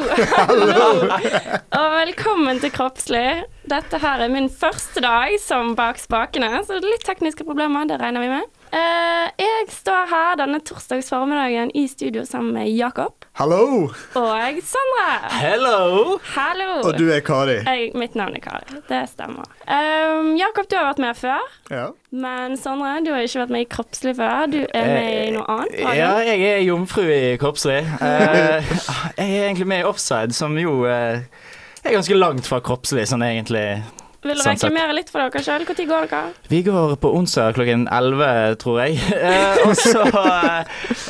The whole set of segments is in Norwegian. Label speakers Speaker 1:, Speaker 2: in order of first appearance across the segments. Speaker 1: Hallo! og velkommen til Kroppslig. Dette her er min første dag som bak spakene, så det er litt tekniske problemer, det regner vi med. Eh, jeg står her denne torsdags formiddagen i studio sammen med Jakob
Speaker 2: Hallo!
Speaker 1: og Sandra.
Speaker 3: Hello!
Speaker 1: Hallo!
Speaker 2: Og du er Kari.
Speaker 1: jeg, mitt navn er Kari. Det stemmer. Eh, Jakob, du har vært med før.
Speaker 2: Ja.
Speaker 1: Men Sondre, du har ikke vært med i Kroppslig før. Du er med i noe annet. har du?
Speaker 3: Eh, Ja, jeg er jomfru i kroppslig. Eh, jeg er egentlig med i Offside, som jo eh, er ganske langt fra kroppslig, sånn egentlig.
Speaker 1: Vil dere
Speaker 3: sant sagt.
Speaker 1: reklamere litt for dere sjøl? Når går dere?
Speaker 3: Vi går på onsdag klokken 11, tror jeg. Eh, og så eh,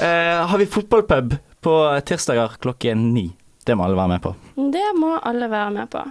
Speaker 3: eh, har vi fotballpub på tirsdager klokken 9. Det må alle være med på.
Speaker 1: Det må alle være med på.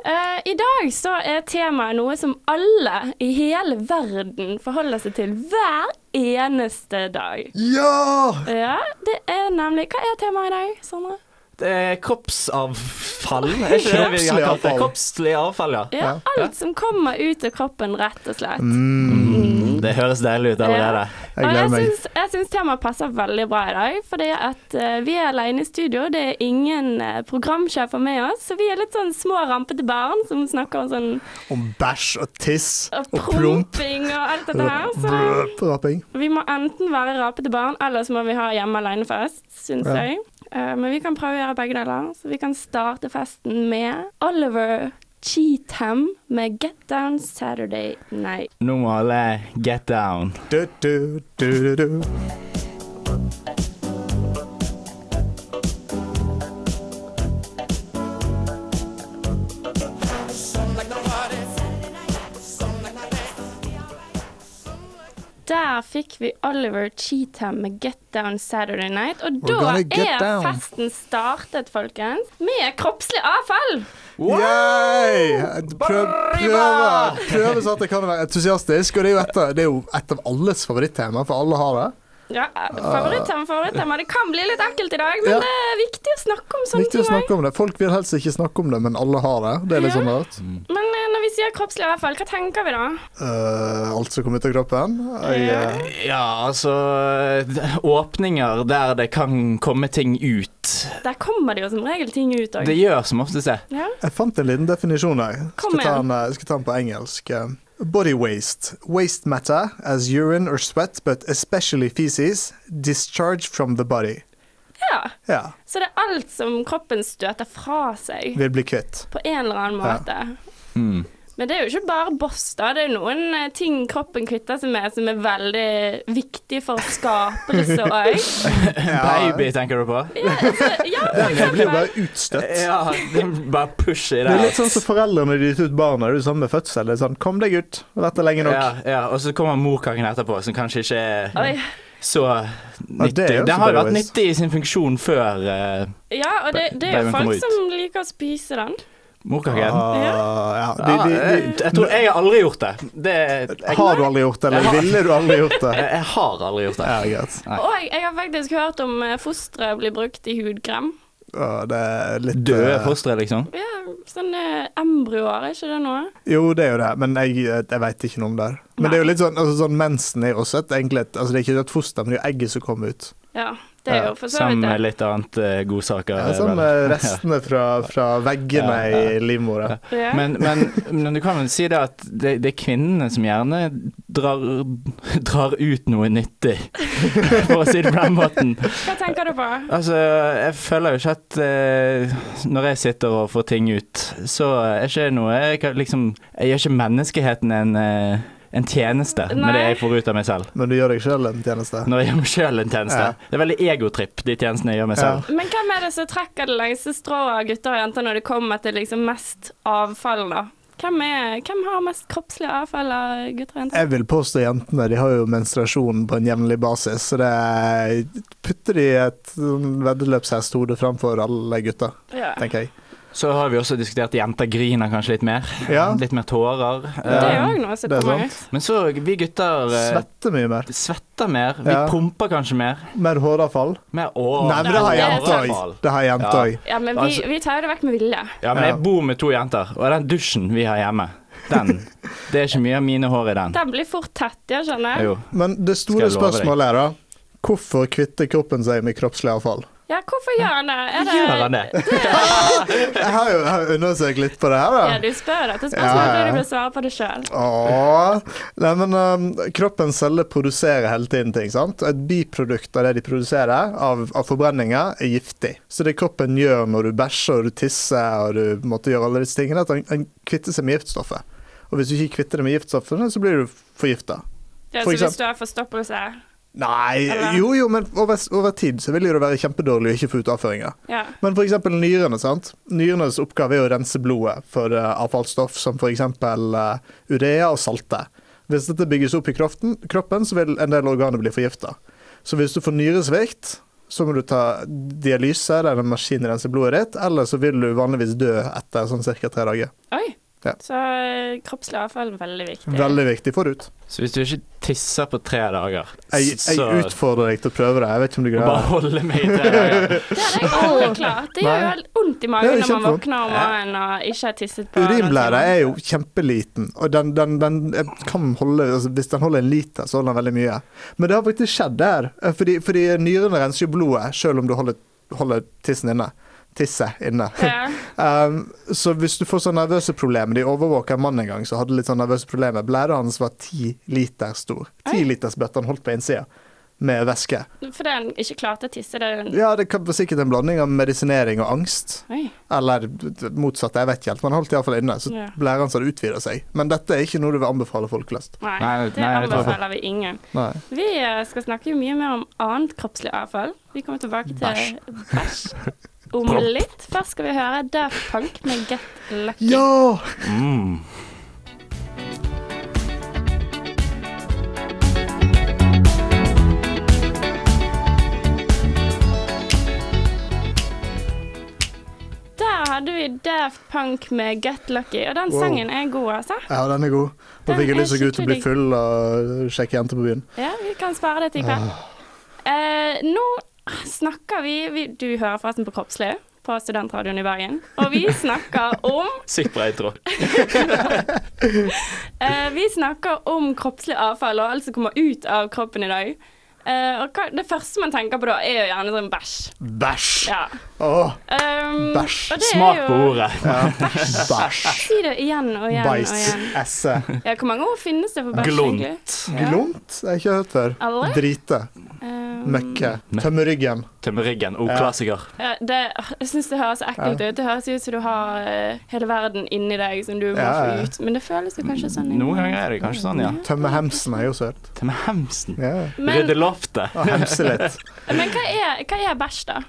Speaker 1: Eh, I dag så er temaet noe som alle i hele verden forholder seg til hver eneste dag.
Speaker 2: ja!
Speaker 1: Ja, det er nemlig Hva er temaet i dag, Sondre?
Speaker 3: Det er kroppsavfall, er ikke det vi har kalt det?
Speaker 2: Kroppslig avfall.
Speaker 3: Kroppslig avfall, ja.
Speaker 1: Ja, alt som kommer ut av kroppen, rett og slett. Mm.
Speaker 3: Mm, Det høres deilig ut allerede.
Speaker 2: Mm,
Speaker 1: og
Speaker 2: Jeg
Speaker 1: jeg
Speaker 2: gleder meg.
Speaker 1: syns, jeg syns temaet passer veldig bra i dag. Fordi at eh, vi er alene i studio, det er ingen eh, programsjefer med oss. Så vi er litt sånn små, rampete barn som snakker om sånn
Speaker 2: Om bæsj og tiss
Speaker 1: og
Speaker 2: og promp.
Speaker 1: promping og alt dette her. Så
Speaker 2: Brødpraping.
Speaker 1: vi må enten være rapete barn, eller så må vi ha hjemme alene-fest, syns
Speaker 2: Ja.
Speaker 1: jeg. Eh, men vi kan prøve å gjøre begge deler. Så vi kan starte festen med Oliver Cheatham med 'Get Down Saturday Night'.
Speaker 3: Nå må alle get down.
Speaker 2: Du, du, du, du, du.
Speaker 1: Der fikk vi Oliver Cheatham med 'Get Down Saturday Night'. Og
Speaker 2: We're
Speaker 1: da
Speaker 2: gonna get
Speaker 1: er
Speaker 2: down.
Speaker 1: festen startet, folkens, med kroppslig avfall.
Speaker 2: Yay! Prøv, prøve, prøve så at det kan være entusiastisk. Og det er jo et av, det er jo et av alles favorittema, for alle har det.
Speaker 1: Ja, eh, Favorittema, favorittema. Det kan bli litt ekkelt i dag, men
Speaker 2: Ja.
Speaker 1: det er viktig å snakke om sånne
Speaker 2: Viktig
Speaker 1: ting
Speaker 2: å
Speaker 1: òg.
Speaker 2: snakke om det. Folk vil helst ikke snakke om det, men alle har det. Det er litt
Speaker 1: Ja.
Speaker 2: sånn rart.
Speaker 1: Men eh, når vi sier kroppslig avfall, hva tenker vi da?
Speaker 2: Eh, alt som kom ut av kroppen. Jeg, eh,
Speaker 3: Ja, altså d- Åpninger der det kan komme ting ut.
Speaker 1: Der kommer det jo som regel ting ut òg.
Speaker 3: Det gjør som oftest det.
Speaker 1: Ja.
Speaker 2: jeg fant en liten definisjon her.
Speaker 1: Kom
Speaker 2: Skal ta
Speaker 1: igjen.
Speaker 2: den, eh, skal ta den på engelsk. Eh, Body waste. Waste matter as urine or sweat, but especially feces, discharged from the body.
Speaker 1: ja.
Speaker 2: Ja,
Speaker 1: Så det er alt som kroppen støter fra seg,
Speaker 2: vil bli kvitt.
Speaker 1: på en eller annen måte.
Speaker 3: Mm.
Speaker 1: Men det er jo ikke bare boss, da. Det er jo noen eh, ting kroppen kvitter seg med som er veldig viktig for skapelse òg.
Speaker 2: Ja,
Speaker 3: Baby, tenker du på?
Speaker 1: Ja, så- ja, for
Speaker 2: jeg blir jo
Speaker 1: eksempel.
Speaker 2: bare utstøtt.
Speaker 3: Ja, den bare push i
Speaker 2: Det er litt
Speaker 3: der.
Speaker 2: sånn som foreldrene dytter ut barna. Det er det samme med fødsel. Det er sånn, Kom deg ut, og dette er lenge nok.
Speaker 3: Ja, ja, og så kommer morkaken etterpå, som kanskje ikke er
Speaker 1: Oi.
Speaker 3: så nyttig.
Speaker 2: det er jo
Speaker 3: Den har jo vært
Speaker 2: babywaste.
Speaker 3: nyttig i sin funksjon før eh,
Speaker 1: Ja, og det, det er jo
Speaker 3: Babyen kommer
Speaker 1: folk
Speaker 3: ut.
Speaker 1: som liker å spise den.
Speaker 3: morkaken.
Speaker 2: Ah, ja.
Speaker 3: Ja, eh,
Speaker 2: de, de,
Speaker 3: jeg, jeg tror jeg har aldri gjort det. det
Speaker 2: de,
Speaker 3: jeg,
Speaker 2: har du aldri gjort det, eller ville du aldri gjort det?
Speaker 3: jeg, jeg har aldri gjort det.
Speaker 2: Ja, greit.
Speaker 3: Nei.
Speaker 1: Og jeg har faktisk hørt om eh, fostre blir brukt i hudkrem.
Speaker 2: Ah, det er litt
Speaker 3: Døde
Speaker 2: eh,
Speaker 3: fostre, liksom.
Speaker 1: Ja, sånne Sånn, eh, embryoer, er ikke det noe?
Speaker 2: Jo, det er jo det, men jeg, eh, jeg veit ikke noe om det. her. Men det er jo litt sånn, altså, sånn mensen er jo også et egentlig et, altså, Det er ikke et foster, men det er jo egget som kommer ut.
Speaker 1: Ja, det er
Speaker 2: Ja,
Speaker 1: jo for så
Speaker 3: Sammen
Speaker 1: vidt
Speaker 3: med
Speaker 1: det.
Speaker 3: litt annet eh, godsaker.
Speaker 2: Det er sånn
Speaker 3: vel.
Speaker 2: eh, restene fra, fra veggene
Speaker 3: Ja, ja.
Speaker 2: i livmora.
Speaker 1: Ja.
Speaker 3: Men, men, men du kan vel si det at det, det er kvinnene som gjerne drar, drar ut noe nyttig, for å si det på den måten.
Speaker 1: Hva tenker du på?
Speaker 3: Altså, jeg føler jo ikke at eh, når jeg sitter og får ting ut, så er ikke det noe jeg, kan, liksom, jeg gjør ikke menneskeheten en, eh, en tjeneste med det
Speaker 1: Nei.
Speaker 3: jeg får ut av meg selv.
Speaker 2: Men du gjør deg sjøl en tjeneste.
Speaker 3: Når jeg gjør meg sjøl en tjeneste.
Speaker 2: Ja.
Speaker 3: Det er veldig egotripp, de tjenestene jeg gjør meg selv.
Speaker 1: Men hvem er det som trekker det lengste strået av gutter og jenter når det kommer til liksom mest avfall, da? Hvem, er, hvem har mest kroppslig avfall av gutter og jenter?
Speaker 2: Jeg vil påstå jentene de har jo menstruasjon på en jevnlig basis, så det er- putter de et sånn veddeløpshesthode framfor alle gutta,
Speaker 1: Ja.
Speaker 2: tenker jeg.
Speaker 3: Så har vi også diskutert jenter griner kanskje litt mer.
Speaker 2: Ja.
Speaker 3: Litt mer tårer.
Speaker 1: Det er jo
Speaker 3: Eh,
Speaker 1: òg noe som
Speaker 2: det er
Speaker 1: kommer
Speaker 2: sant.
Speaker 1: ut.
Speaker 3: Men så, vi gutter eh,
Speaker 2: Svetter mye mer.
Speaker 3: svetter mer. Vi
Speaker 2: Ja.
Speaker 3: pumper kanskje mer.
Speaker 2: Mer håravfall.
Speaker 3: Mer år.
Speaker 2: Nei, men det har
Speaker 1: det er
Speaker 2: jenter òg. Det har jenter òg.
Speaker 1: Ja, men vi,
Speaker 3: Altså-
Speaker 1: vi tar jo det vekk med vilje.
Speaker 3: Ja, men
Speaker 2: Ja.
Speaker 3: jeg bor med to jenter, og den dusjen vi har hjemme, den Det er ikke mye av mine hår i den.
Speaker 1: Den blir fort tett, jeg skjønner.
Speaker 3: Jo.
Speaker 2: Men det
Speaker 3: Skal
Speaker 2: store
Speaker 3: jeg love deg.
Speaker 2: spørsmålet er da Hvorfor kvitter kroppen seg med kroppslig avfall?
Speaker 1: Ja, hvorfor gjør han det? Er det
Speaker 4: Gjør han det?
Speaker 2: Jeg har jo jeg har undersøkt litt på det her, da.
Speaker 1: Ja, du spør dette
Speaker 2: Ja,
Speaker 1: spørsmålet
Speaker 2: ja, ja.
Speaker 1: fordi du vil svare på det sjøl.
Speaker 2: Åh. Nei, men um, kroppens celler produserer hele tiden ting, sant? Et biprodukt av det de produserer, av, av forbrenninga, er giftig. Så det kroppen gjør når du bæsjer og du tisser og du måtte gjøre alle disse tingene, at den, den kvitter seg med giftstoffet. Og hvis du ikke kvitter deg med giftstoffene, så blir du forgifta.
Speaker 1: Ja,
Speaker 2: For
Speaker 1: så hvis
Speaker 2: eksempel-
Speaker 1: du har forstoppelse
Speaker 2: Nei,
Speaker 1: Eller?
Speaker 2: jo jo, men over, over tid så vil jo det være kjempedårlig å ikke få ut avføringa.
Speaker 1: Ja.
Speaker 2: Men f.eks. nyrene. sant? Nyrenes oppgave er å rense blodet for eh, avfallsstoff som f.eks. Uh, urea og salte. Hvis dette bygges opp i kroften, kroppen, så vil en del organer bli forgifta. Så hvis du får nyresvikt, så må du ta dialyse, det er en maskin som renser blodet ditt, eller så vil du vanligvis dø etter sånn ca. tre dager.
Speaker 1: Oi.
Speaker 2: Ja.
Speaker 1: Så eh, kroppslig avfall er veldig viktig.
Speaker 2: Veldig viktig forut.
Speaker 3: Så hvis du ikke tisser på tre dager,
Speaker 2: Jeg,
Speaker 3: så
Speaker 2: jeg utfordrer deg til å prøve det. Jeg vet ikke om du greier
Speaker 3: bare
Speaker 2: det.
Speaker 3: holde meg i tre dager.
Speaker 1: Det hadde jeg aldri klart. Det gjør jo
Speaker 2: Nei.
Speaker 1: helt vondt i
Speaker 2: Ja,
Speaker 1: magen
Speaker 2: det er
Speaker 1: når man
Speaker 2: kjempevondt.
Speaker 1: våkner om morgenen og ikke har tisset på
Speaker 2: Urinblæra er jo kjempeliten, og den, den, den eh, kan holde altså Hvis den holder en liter, så holder den veldig mye. Men det har faktisk skjedd der, eh, fordi, fordi nyrene renser jo blodet selv om du holder, holder tissen inne. Tisset inne.
Speaker 1: Ja.
Speaker 2: Um, så hvis du får sånne nervøse problemer De overvåker en mann en gang som hadde litt sånn nervøse problemer. Blæra hans var ti liter stor. Ti liters bøtte han holdt på innsida med væske.
Speaker 1: Fordi han ikke klarte å tisse. Det er jo en
Speaker 2: Ja, det kan- var sikkert en blanding av medisinering og angst.
Speaker 1: Oi.
Speaker 2: Eller motsatt, jeg vet ikke helt. Men han holdt iallfall inne, så
Speaker 1: Ja.
Speaker 2: blæra hans hadde utvida seg. Men dette er ikke noe du vil anbefale folk flest.
Speaker 1: Nei,
Speaker 3: Nei,
Speaker 1: det
Speaker 3: nei, det tror jeg ikke.
Speaker 1: anbefaler vi ingen.
Speaker 2: Nei.
Speaker 1: Vi eh, skal snakke mye mer om annet kroppslig avfall. Vi kommer tilbake
Speaker 3: Bæsj.
Speaker 1: til bæsj om litt. Først skal vi høre Daft Punk med Get Lucky.
Speaker 2: Ja!
Speaker 3: Mm.
Speaker 1: Der hadde vi Daft Punk med Get Lucky, og den
Speaker 2: Wow.
Speaker 1: sangen er god, altså.
Speaker 2: Ja, den er god. Da
Speaker 1: Den
Speaker 2: fikk jeg
Speaker 1: er
Speaker 2: lyst til å gå ut og
Speaker 1: skikkelig
Speaker 2: bli
Speaker 1: digg.
Speaker 2: full og sjekke jenter på byen.
Speaker 1: Ja, vi kan spare det til i kveld. Eh, nå snakker vi, vi Du hører forresten på Kroppslig på Studentradioen i Bergen. Og vi snakker om
Speaker 4: Sykt bra intro.
Speaker 1: eh, Vi snakker om kroppslig avfall og alt som kommer ut av kroppen i dag. Eh, og hva, det første man tenker på da, er jo gjerne sånn bæsj.
Speaker 2: Bæsj!
Speaker 1: Ja.
Speaker 2: Åh,
Speaker 1: Um,
Speaker 2: Bæsj.
Speaker 1: og det er
Speaker 3: Smak
Speaker 1: jo-
Speaker 3: på ordet.
Speaker 2: bæsj.
Speaker 1: Si det igjen og igjen
Speaker 2: Bæsj.
Speaker 1: og igjen.
Speaker 2: Esse.
Speaker 1: Ja, hvor mange ord finnes det for bæsj, egentlig?
Speaker 3: Glunt.
Speaker 2: Glunt? Det har jeg ikke hørt før.
Speaker 1: Alle?
Speaker 2: Drite.
Speaker 1: Um,
Speaker 2: Møkke. Tømme ryggen.
Speaker 3: Tømme ryggen. Oh, klassiker.
Speaker 1: ja, det, åh, jeg syns det høres ekkelt ut. Det høres ut som du har eh, hele verden inni deg som du må
Speaker 2: Ja, ja.
Speaker 1: få ut. Men det føles jo kanskje sånn.
Speaker 3: Noen ganger er det kanskje sånn, ja.
Speaker 2: Tømme hemsen har jeg også hørt.
Speaker 3: Tømme hemsen.
Speaker 2: Ja.
Speaker 1: Men,
Speaker 3: Rydde loftet.
Speaker 2: Og hemse litt.
Speaker 1: men hva, er, hva er bæsj, da?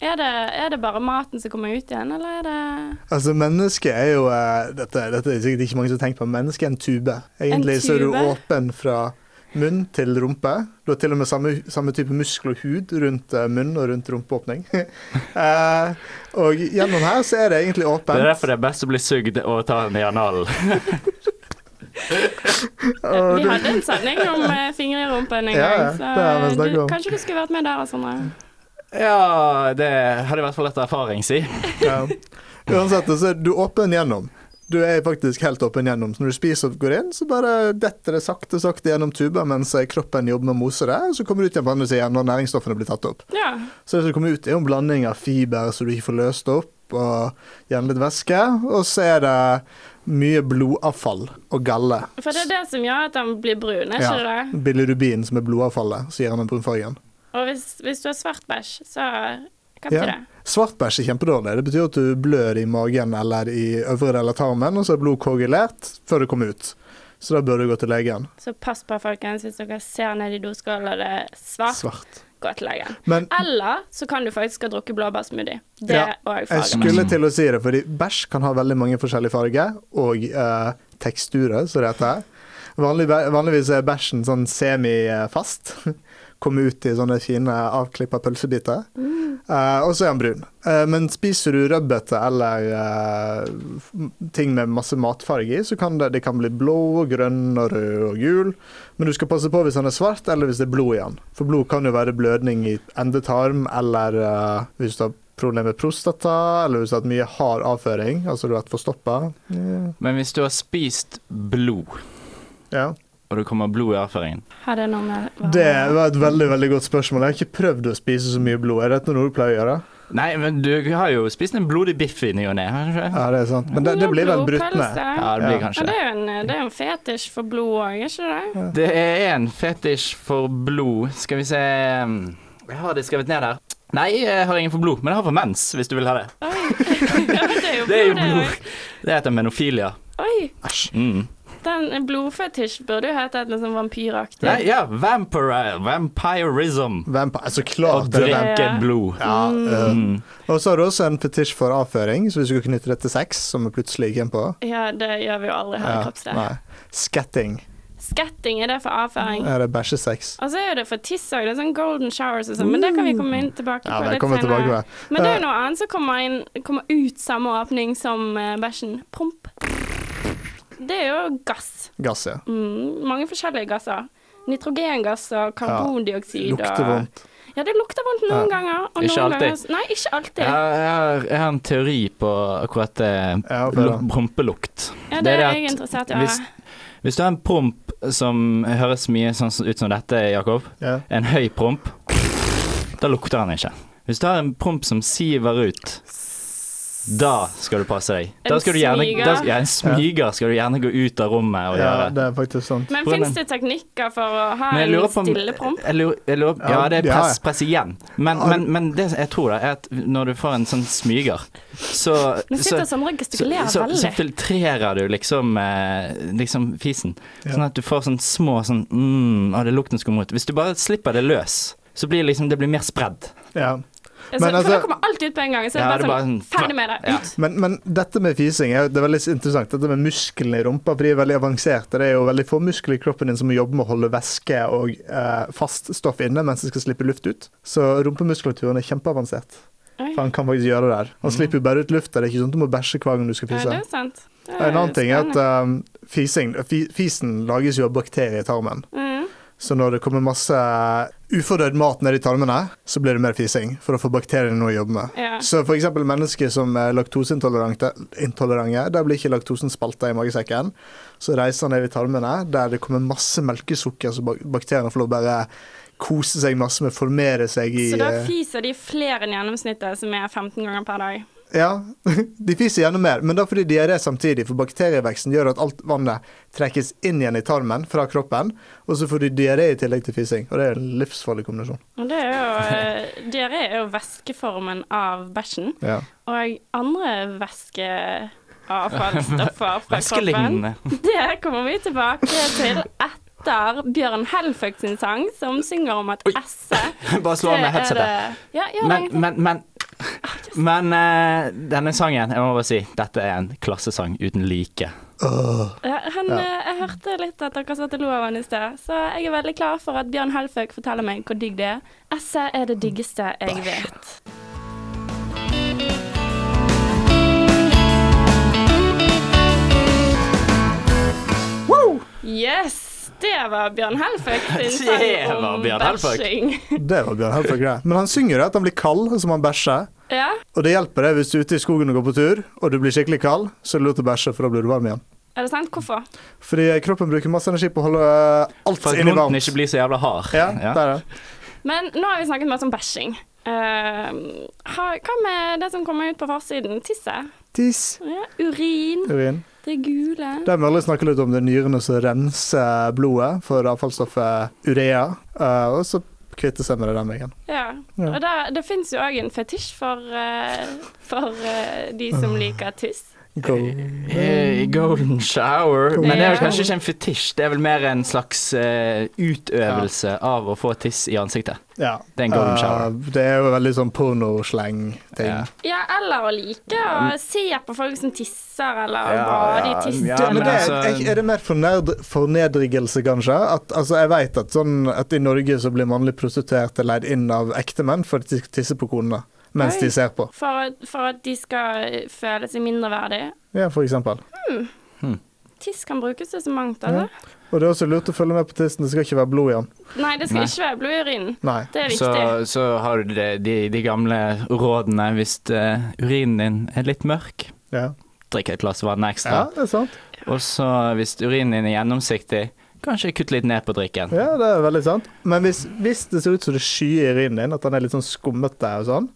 Speaker 1: Er det, er det bare maten som kommer ut igjen, eller er det
Speaker 2: Altså, mennesket er jo eh, dette, dette er sikkert ikke mange som har tenkt på, men mennesket er en tube. Egentlig
Speaker 1: En
Speaker 2: så er du
Speaker 1: tube?
Speaker 2: åpen fra munn til rumpe. Du har til og med samme, samme type muskel og hud rundt eh, munn og rundt rumpeåpning. Eh, og gjennom her så er det egentlig
Speaker 3: Det er
Speaker 2: åpent.
Speaker 3: derfor det er best å bli sugd og ta den i analen.
Speaker 1: eh, Vi hadde en sending om eh, fingre i rumpen en
Speaker 2: Ja,
Speaker 1: gang,
Speaker 2: ja,
Speaker 1: så eh,
Speaker 2: det har vi snakket
Speaker 1: du,
Speaker 2: om.
Speaker 1: kanskje du skulle vært med der, Sondre.
Speaker 3: Ja, det hadde i hvert fall etter erfaring, si.
Speaker 2: Ja. Uansett, så er du åpen gjennom. Du er faktisk helt åpen gjennom. Så når du spiser og går inn, så bare detter det sakte, sakte gjennom tuba mens eh, kroppen jobber med å mose det, og så kommer du ut igjen på andre siden når næringsstoffene blir tatt opp.
Speaker 1: Ja.
Speaker 2: Så det som kommer ut er jo en blanding av fiber som du ikke får løst opp, og gjerne litt væske. Og så er det mye blodavfall og galle.
Speaker 1: For det er det som gjør at den blir brun, er ikke det det?
Speaker 2: Bilirubin, som er blodavfallet, som gir den brunfargen.
Speaker 1: Og hvis, hvis du har svart bæsj, så hva betyr
Speaker 2: Ja.
Speaker 1: det?
Speaker 2: Svartbæsj er kjempedårlig. Det betyr at du blør i magen eller i øvre del av tarmen, og så er blodet koagulert før det kommer ut. Så da bør du gå til legen.
Speaker 1: Så pass på, folkens, hvis dere ser ned i doskålen og det er svart,
Speaker 2: Svart.
Speaker 1: gå til legen.
Speaker 2: Men
Speaker 1: Eller så kan du faktisk ha drukket blåbærsmoothie. Det
Speaker 2: Ja,
Speaker 1: òg
Speaker 2: jeg
Speaker 1: farger meg.
Speaker 2: skulle til å si det, fordi bæsj kan ha veldig mange forskjellige farger og eh, teksturer, som det heter. Vanlig, vanligvis er bæsjen sånn semifast. Kommer ut i sånne fine avklippa pølsebiter. Eh, og så er den brun. Eh, men spiser du rødbete eller eh, f- ting med masse matfarge i, så kan det, det kan bli blå, og grønn, og rød og gul. Men du skal passe på hvis den er svart, eller hvis det er blod i den. For blod kan jo være blødning i endetarm, eller eh, hvis du har problemer med prostata, eller hvis du har hatt mye hard avføring, altså du har vært forstoppa.
Speaker 3: Men hvis du har spist blod,
Speaker 2: Ja.
Speaker 3: og det kommer blod i avføringen?
Speaker 1: Har det noe med
Speaker 2: Det var et veldig veldig godt spørsmål. Jeg har ikke prøvd å spise så mye blod. Er dette noe du pleier å gjøre?
Speaker 3: Nei, men du har jo spist en blodig biff i ny og ne, har du ikke det?
Speaker 2: Ja, det er sant. Men det, det blir vel brutt ned.
Speaker 1: Blodpølse.
Speaker 3: Ja, det blir
Speaker 2: Ja.
Speaker 1: Ja, det
Speaker 3: kanskje.
Speaker 1: er jo en, det er jo en fetisj for blod òg, er ikke det?
Speaker 3: Det er en fetisj for blod. Skal vi se mm, Jeg har det skrevet ned der. Nei, jeg har ingen for blod, men jeg har for mens, hvis du vil ha det.
Speaker 1: Oi. Ja, det er jo blod.
Speaker 3: Det er jo
Speaker 1: det
Speaker 3: blod.
Speaker 1: også.
Speaker 3: Det heter menofilia.
Speaker 1: Oi.
Speaker 2: Æsj.
Speaker 3: Mm.
Speaker 1: Den blodfetisj burde jo hete et litt sånn vampyraktig.
Speaker 3: Nei, ja, vampire, vampirism.
Speaker 2: Vamp- Altså,
Speaker 3: Å
Speaker 2: klart det er vamp.
Speaker 3: drikke
Speaker 1: Ja.
Speaker 3: blod.
Speaker 2: Ja, eh,
Speaker 3: Mm.
Speaker 2: Og så har du også en fetisj for avføring, så hvis du skulle knytte det til sex, som vi plutselig gikk inn på
Speaker 1: Ja, det gjør vi jo aldri her i
Speaker 2: ja,
Speaker 1: kroppsdel.
Speaker 2: nei. Mm. Skatting.
Speaker 1: Skatting, er det for avføring?
Speaker 2: Er det bæsjesex?
Speaker 1: Og så er jo det for tiss òg. Det er sånn golden showers og sånn, men det kan vi komme inn tilbake på
Speaker 2: Ja, det
Speaker 1: litt
Speaker 2: kommer jeg
Speaker 1: senere.
Speaker 2: tilbake Eh. med.
Speaker 1: Men det er jo noe annet som kommer, inn, kommer ut samme åpning som eh, bæsjen. Promp. Det er jo gass.
Speaker 2: Gass, ja.
Speaker 1: Mm, mange forskjellige gasser. Nitrogengass og karbondioksid og
Speaker 2: Lukter vondt.
Speaker 1: Ja, det lukter vondt noen
Speaker 2: Ja.
Speaker 1: ganger. Og
Speaker 3: Ikke
Speaker 1: noen
Speaker 3: alltid.
Speaker 1: Ganger, nei, ikke alltid.
Speaker 3: Jeg, har, jeg har en teori på akkurat det.
Speaker 2: Ja, for
Speaker 3: lu-
Speaker 2: da.
Speaker 3: Prompelukt.
Speaker 1: Ja, det,
Speaker 3: det
Speaker 1: er
Speaker 3: at
Speaker 1: jeg interessert i. å
Speaker 3: hvis-
Speaker 1: høre.
Speaker 3: Hvis du har en promp som høres mye sånn som- ut som dette, Jakob.
Speaker 2: Ja.
Speaker 3: En høy promp. Da lukter han ikke. Hvis du har en promp som siver ut, da skal du passe deg. Da
Speaker 1: En
Speaker 3: skal du gjerne,
Speaker 1: smyger.
Speaker 3: da, ja, en smyger skal du gjerne gå ut av rommet og
Speaker 2: ja,
Speaker 3: gjøre.
Speaker 2: det er faktisk sant.
Speaker 1: Men
Speaker 3: Hvordan-
Speaker 1: fins det teknikker for å ha
Speaker 3: Men jeg
Speaker 1: en
Speaker 3: lurer på om-
Speaker 1: stille promp?
Speaker 3: Jeg lurer, jeg lurer, ja, det er
Speaker 2: Ja, ja.
Speaker 3: press, press igjen. Men, men, men det jeg tror, da, er at når du får en sånn smyger, så
Speaker 1: Nå sitter
Speaker 3: så-
Speaker 1: Sondre og
Speaker 3: så,
Speaker 1: gestikulerer
Speaker 3: så, så
Speaker 1: veldig.
Speaker 3: filtrerer du liksom, eh, liksom fisen.
Speaker 2: Ja.
Speaker 3: Sånn at du får sånn små sånn mm, Å, det er lukten som kommer ut. Hvis du bare slipper det løs, så blir liksom, det blir mer spredd.
Speaker 2: Ja.
Speaker 1: Altså,
Speaker 2: Men
Speaker 1: for
Speaker 2: altså-
Speaker 1: det kommer alt ut på en gang. Så
Speaker 3: Ja,
Speaker 1: det er bare sånn,
Speaker 3: sånn-
Speaker 1: ferdig med det.
Speaker 3: Ja.
Speaker 1: Ut.
Speaker 2: Men, men dette med fising er, det er veldig interessant. Dette med musklene i rumpa for de er veldig avanserte. Det er jo veldig få muskler i kroppen din som må jobbe med å holde væske og eh, fast stoff inne mens det skal slippe luft ut. Så rumpemuskulaturen er kjempeavansert.
Speaker 1: Oi.
Speaker 2: For han kan faktisk gjøre det der. Han slipper jo bare ut lufta. Det er ikke sånn at du må bæsje hver gang du skal
Speaker 1: Ja,
Speaker 2: fise.
Speaker 1: det er sant. Det
Speaker 2: En annen ting er at
Speaker 1: spennende.
Speaker 2: um, fising, fi, fisen lages jo av bakterier i tarmen.
Speaker 1: Mm.
Speaker 2: Så når det kommer masse uh, ufordøyd mat ned i tarmene, så blir det mer fising for å få bakteriene noe å jobbe med.
Speaker 1: Ja.
Speaker 2: Så for eksempel mennesker som er laktoseintolerante, intolerante, der blir ikke laktosen spalta i magesekken. Så reiser han ned i tarmene, der det kommer masse melkesukker, så bak- bakteriene får lov å bare kose seg masse med, formere seg i
Speaker 1: Så da
Speaker 2: eh,
Speaker 1: fiser de flere enn gjennomsnittet, som er 15 ganger per dag.
Speaker 2: Ja, de fiser gjerne mer, men da fordi diaré samtidig, for bakterieveksten gjør at alt vannet trekkes inn igjen i tarmen fra kroppen, og så får du diaré i tillegg til fising, og det er en livsfarlig kombinasjon.
Speaker 1: Og det er jo, eh, Diaré er jo væskeformen av bæsjen.
Speaker 2: Ja.
Speaker 1: Og andre væskeavfallsstoffer fra kroppen.
Speaker 3: Væskelignende.
Speaker 1: Det kommer vi tilbake til etter Bjørn Helføk sin sang, som synger om at esset
Speaker 3: Bare slå av med headsetet.
Speaker 1: Ja, gjør det.
Speaker 3: Men, men, men men eh, denne sangen, jeg må bare si, dette er en klassesang uten like.
Speaker 2: Åh.
Speaker 1: Ja, han,
Speaker 2: Ja.
Speaker 1: eh, Jeg hørte litt at dere satt og lo av han i sted, så jeg er veldig klar for at Bjørn Helføk forteller meg hvor digg det er. Esset er det diggeste jeg vet. Yes! Det var Bjørn Helføk sin
Speaker 3: Det
Speaker 1: sang
Speaker 3: var
Speaker 1: om
Speaker 3: Bjørn Helføk.
Speaker 1: bæsjing.
Speaker 2: Det var Bjørn Helfrich, det. Men han synger jo at han blir kald, og så må han bæsje.
Speaker 1: Ja.
Speaker 2: Og det hjelper deg hvis du er ute i skogen og går på tur, og du blir skikkelig kald, så er det lurt å bæsje, for da blir du varm igjen.
Speaker 1: Er det sant? Hvorfor?
Speaker 2: Fordi kroppen bruker masse energi på å holde eh, alt
Speaker 3: For at
Speaker 2: inni
Speaker 3: munnen
Speaker 2: varmt.
Speaker 3: ikke blir så jævla hard.
Speaker 2: Ja,
Speaker 3: Ja.
Speaker 2: der er det.
Speaker 1: Men nå har vi snakket masse om bæsjing. Eh, ha- hva med det som kommer ut på forsiden? Tisset?
Speaker 2: Tiss.
Speaker 1: Ja, urin,
Speaker 2: Urin.
Speaker 1: det gule.
Speaker 2: Der må alle snakke litt om det er nyrene som renser blodet for avfallsstoffet urea, eh, og så kvitte seg med det den veien.
Speaker 1: Ja.
Speaker 2: Ja.
Speaker 1: Og der, det fins jo òg en fetisj for, eh, for eh, de som
Speaker 3: Ah.
Speaker 1: liker tiss.
Speaker 3: Eh, Golden shower. Men det er vel
Speaker 1: Ja.
Speaker 3: kanskje ikke en fetisj, det er vel mer en slags eh, utøvelse av å få tiss i ansiktet.
Speaker 2: Ja.
Speaker 3: Det er en golden
Speaker 2: Eh,
Speaker 3: shower.
Speaker 2: det er jo veldig sånn pornosleng-ting.
Speaker 3: Ja.
Speaker 1: Ja, eller å like å se på folk som tisser, eller
Speaker 3: Ja,
Speaker 1: bade
Speaker 3: ja,
Speaker 1: i tiss.
Speaker 3: ja,
Speaker 2: Det, men det, er-
Speaker 3: altså-
Speaker 2: jeg- er det mer fornerd, fornedrigelse, kanskje? At, altså, jeg vet at, sånn, at i Norge så blir mannlig prostituerte leid inn av ektemenn for at de skal tisse på konene mens
Speaker 1: Oi.
Speaker 2: de ser på.
Speaker 1: For, at- for at de skal eh, føle seg mindreverdige.
Speaker 2: Ja, for eksempel.
Speaker 1: Tiss kan brukes til så mangt, altså.
Speaker 2: Og det er også lurt å følge med på tissen, det skal ikke være blod i den.
Speaker 1: Nei, det skal
Speaker 3: Nei.
Speaker 1: ikke være blod i urinen.
Speaker 2: Nei.
Speaker 1: Det er
Speaker 3: Så,
Speaker 1: viktig.
Speaker 3: så har du de, de, de gamle rådene hvis eh, urinen din er litt mørk.
Speaker 2: Ja.
Speaker 3: Drikk et glass vann
Speaker 2: ja,
Speaker 3: ekstra.
Speaker 2: det er sant.
Speaker 3: Og så hvis urinen din er gjennomsiktig, kanskje kutt litt ned på drikken.
Speaker 2: Ja, det er veldig sant. Men hvis, hvis det ser ut som det skyer i urinen din, at den er litt sånn skummete og sånn,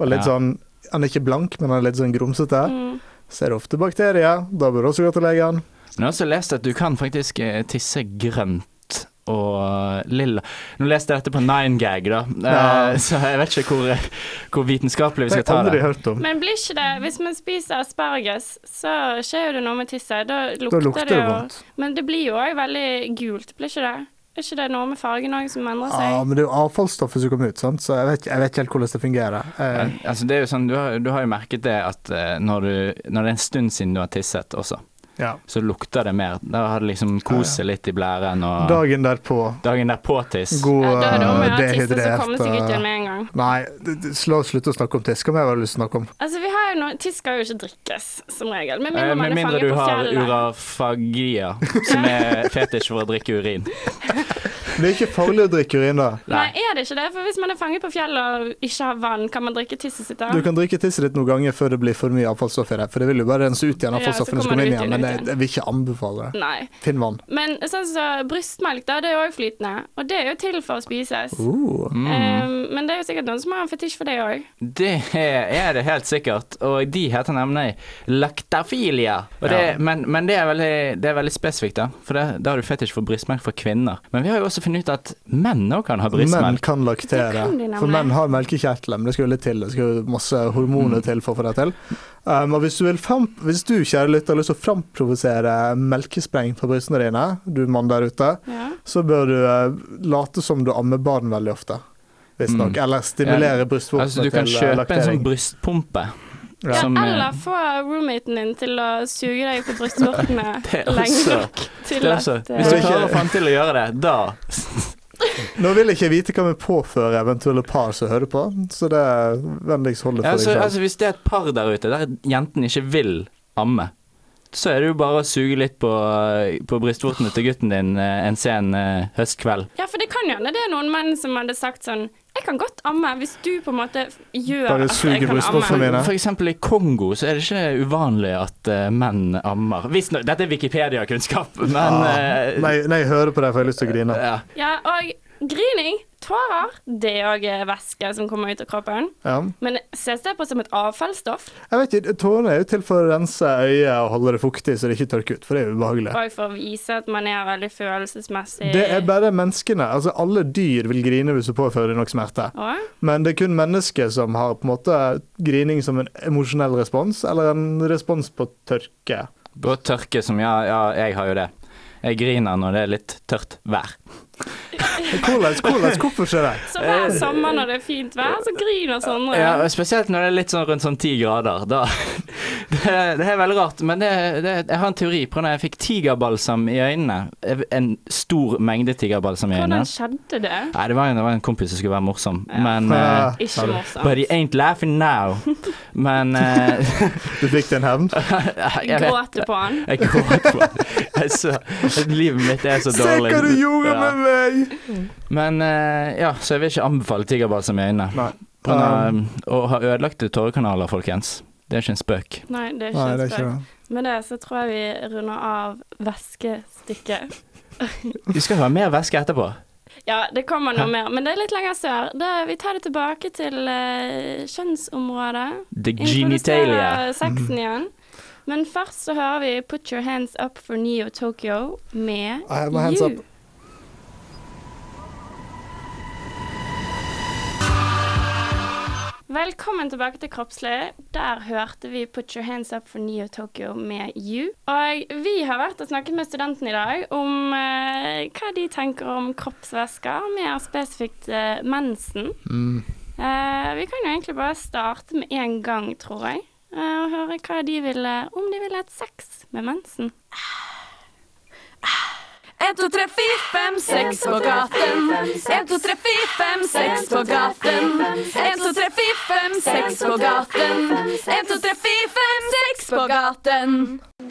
Speaker 2: og litt
Speaker 3: Ja.
Speaker 2: sånn Han er ikke blank, men han er litt sånn grumsete,
Speaker 1: Mm.
Speaker 2: så er det ofte bakterier. Da bør du også gå til legen.
Speaker 3: Men jeg har også lest at du kan faktisk eh, tisse grønt og lilla. Nå leste jeg dette på Nine Gag, da, eh,
Speaker 2: Ja.
Speaker 3: så jeg vet ikke hvor, hvor vitenskapelig vi
Speaker 2: Det har
Speaker 3: skal
Speaker 2: jeg
Speaker 3: ta
Speaker 2: aldri
Speaker 3: det.
Speaker 2: hørt om.
Speaker 1: Men blir ikke det Hvis man spiser asparges, så skjer jo det noe med tisset. Da
Speaker 2: Da
Speaker 1: lukter,
Speaker 2: lukter
Speaker 1: det
Speaker 2: det
Speaker 1: jo
Speaker 2: vondt.
Speaker 1: Men det blir jo òg veldig gult, blir ikke det? Er ikke det noe med fargen òg som endrer
Speaker 2: Ja,
Speaker 1: seg?
Speaker 2: men det er jo avfallsstoffet som kommer ut, sant? så jeg vet, jeg vet ikke helt hvordan det fungerer.
Speaker 3: Eh,
Speaker 2: Eh,
Speaker 3: Altså, det er jo sånn, du, har, du har jo merket det at eh, når, du, når det er en stund siden du har tisset også,
Speaker 2: ja.
Speaker 3: så lukter det mer. Da har det liksom kost seg litt i blæren, og
Speaker 2: Dagen derpå,
Speaker 3: dagen derpå tiss.
Speaker 2: god
Speaker 1: Ja, da er det om å
Speaker 2: eh,
Speaker 1: gjøre at tisset skal komme
Speaker 2: dehydrert
Speaker 1: seg ut igjen
Speaker 2: eh,
Speaker 1: med en gang.
Speaker 2: Nei, d- d- slå- slutt å snakke om tiss. Hva mer har du lyst til å snakke om?
Speaker 1: Altså, vi har jo noe Tiss skal jo ikke drikkes, som regel. Med mindre
Speaker 3: Eh,
Speaker 1: man
Speaker 3: Med
Speaker 1: er
Speaker 3: mindre
Speaker 1: fanget
Speaker 3: du
Speaker 1: på
Speaker 3: har
Speaker 1: fjellet.
Speaker 3: urafagia, som er fetisj for å drikke urin.
Speaker 2: Det er ikke farlig å drikke urin, da.
Speaker 1: Nei, er det ikke det? For hvis man er fanget på fjellet og ikke har vann, kan man drikke tisset sitt da?
Speaker 2: Du kan drikke tisset ditt noen ganger før det blir for mye avfallsstoff i det, for det vil jo bare rense ut igjen
Speaker 1: Ja, så
Speaker 2: avfallsstoffene som
Speaker 1: kommer
Speaker 2: kommer
Speaker 1: det
Speaker 2: inn
Speaker 1: ut
Speaker 2: igjen,
Speaker 1: igjen,
Speaker 2: men
Speaker 1: ut
Speaker 2: jeg,
Speaker 1: igjen.
Speaker 2: jeg vil ikke anbefale det.
Speaker 1: Nei.
Speaker 2: Finn vann.
Speaker 1: Men sånn som brystmelk, da, det er jo òg flytende. Og det er jo til for å spises.
Speaker 2: Uh.
Speaker 1: Ehm, men det er jo sikkert noen som har en fetisj for det òg.
Speaker 3: Det er det helt sikkert, og de heter nemlig lactafilia. Og det,
Speaker 2: Ja.
Speaker 3: Men, men det, er veldig, det er veldig spesifikt, da. For det, da har du fetisj for brystmelk for kvinner. Men vi har jo også funnet ut at menn òg kan ha
Speaker 2: Menn
Speaker 3: brystmelk.
Speaker 2: kan
Speaker 1: Det
Speaker 2: laktere,
Speaker 1: kan de nemlig.
Speaker 2: for menn har melkekjertler, men det skal jo litt til. Det skal jo masse
Speaker 3: Mm.
Speaker 2: hormoner til for å få det til. Um, og hvis du, vil fram, hvis du kjære lytter, har lyst til å framprovosere melkespreng på brystene dine, du mann der ute,
Speaker 1: Ja.
Speaker 2: så bør du eh, late som du ammer barn veldig ofte. Visstnok.
Speaker 3: Mm.
Speaker 2: Eller stimulere brystvortene
Speaker 3: Altså, du kan
Speaker 2: til eh,
Speaker 3: kjøpe en sånn
Speaker 2: laktering.
Speaker 3: brystpumpe.
Speaker 2: Ja.
Speaker 3: Som, eh,
Speaker 1: Eller få roommaten din til å suge deg på brystvortene
Speaker 3: Det er
Speaker 1: lenge
Speaker 3: også-
Speaker 1: nok til
Speaker 3: det er
Speaker 1: at
Speaker 3: altså,
Speaker 1: eh,
Speaker 3: hvis du klarer å få han til å gjøre det, da
Speaker 2: Nå vil jeg ikke vite hva vi påfører eventuelle par som hører på, så det er vennligst hold det for
Speaker 3: altså,
Speaker 2: deg selv.
Speaker 3: altså, Hvis det er et par der ute der jenten ikke vil amme, så er det jo bare å suge litt på, på brystvortene til gutten din eh, en sen eh, høstkveld.
Speaker 1: Ja, for det kan jo hende det er noen menn som hadde sagt sånn Jeg kan godt amme hvis du på en måte gjør
Speaker 2: Bare
Speaker 1: at jeg
Speaker 2: suger
Speaker 1: kan
Speaker 2: brystvortene
Speaker 1: amme.
Speaker 2: mine.
Speaker 3: For eksempel i Kongo så er det ikke uvanlig at eh, menn ammer. Hvis nå- dette er Wikipedia-kunnskap, men eh,
Speaker 2: Ah, nei, nei, jeg hører på deg, for jeg har lyst til å grine.
Speaker 3: ja.
Speaker 1: Ja, og grining, tårer, det er òg væske som kommer ut av kroppen.
Speaker 2: Ja.
Speaker 1: Men ses det på som et avfallsstoff
Speaker 2: Jeg vet ikke, Tårene er jo til for å rense øyet og holde det fuktig så det ikke tørker ut, for det er jo ubehagelig.
Speaker 1: og for å vise at man er veldig følelsesmessig
Speaker 2: Det er bare menneskene. Altså, alle dyr vil grine hvis du påfører nok smerte.
Speaker 1: Å?
Speaker 2: Men det er kun mennesker som har på en måte grining som en emosjonell respons, eller en respons på tørke.
Speaker 3: På tørke som ja, ja, jeg har jo det. Jeg griner når det er litt tørt vær.
Speaker 2: Hvordan, hvordan, hvorfor skjer det?
Speaker 1: Så hver sommer når det er fint vær, så griner Sondre.
Speaker 3: Ja, og Spesielt når det er litt sånn rundt sånn ti grader. Da. Det, er- det er veldig rart, men det, det, jeg har en teori på når jeg fikk tigerbalsam i øynene. eh, En stor mengde tigerbalsam i øynene.
Speaker 1: Hvordan skjedde det?
Speaker 3: Nei, det var, en, det var en kompis som skulle være morsom,
Speaker 1: Ja.
Speaker 3: men eh,
Speaker 2: Ah,
Speaker 1: Ikke
Speaker 3: But
Speaker 1: morsomt.
Speaker 3: he ain't laughing now. Men eh,
Speaker 2: Du fikk din hevn?
Speaker 3: jeg vet
Speaker 1: Gråte på han.
Speaker 3: jeg gråt på Jeg så- Livet mitt er så
Speaker 2: Se
Speaker 3: dårlig.
Speaker 2: hva du gjorde
Speaker 3: Ja.
Speaker 2: med meg!
Speaker 3: Men eh, ja, så jeg vil ikke anbefale tigerbalsam i øynene. eh,
Speaker 2: Nei.
Speaker 3: På grunn av, å ha ødelagte tårekanaler, folkens. Det er ikke en spøk.
Speaker 1: Nei, det er ikke
Speaker 2: Nei, det
Speaker 1: en
Speaker 2: er ikke
Speaker 1: spøk.
Speaker 2: det.
Speaker 1: Med det så tror jeg vi runder av væskestykket.
Speaker 3: Vi skal ha mer væske etterpå.
Speaker 1: Ja, det kommer noe mer, men det er litt lenger sør. Det, vi tar det tilbake til eh, kjønnsområdet.
Speaker 3: The genitalia.
Speaker 1: Introduserer sexen igjen. Men først så hører vi 'Put Your Hands Up for Neo Tokyo' med
Speaker 2: I have my hands
Speaker 1: You.
Speaker 2: up.
Speaker 1: Velkommen tilbake til Kroppslig. Der hørte vi 'Put Your Hands Up for Neo Tokyo' med You. Og vi har vært og snakket med studentene i dag om eh, hva de tenker om kroppsvæsker, mer spesifikt eh, mensen. Eh, vi kan jo egentlig bare starte med en gang, tror jeg. eh, og høre hva de ville, om de ville hatt sex med mensen.
Speaker 4: 1, 2, 3, 4, 5, 6 på gaten. 1, 2, 3, 4, 5, 6 på gaten. 1, 2, 3, 4, 5, 6 på gaten. 1, 2, 3, 4, 5, 6 på gaten.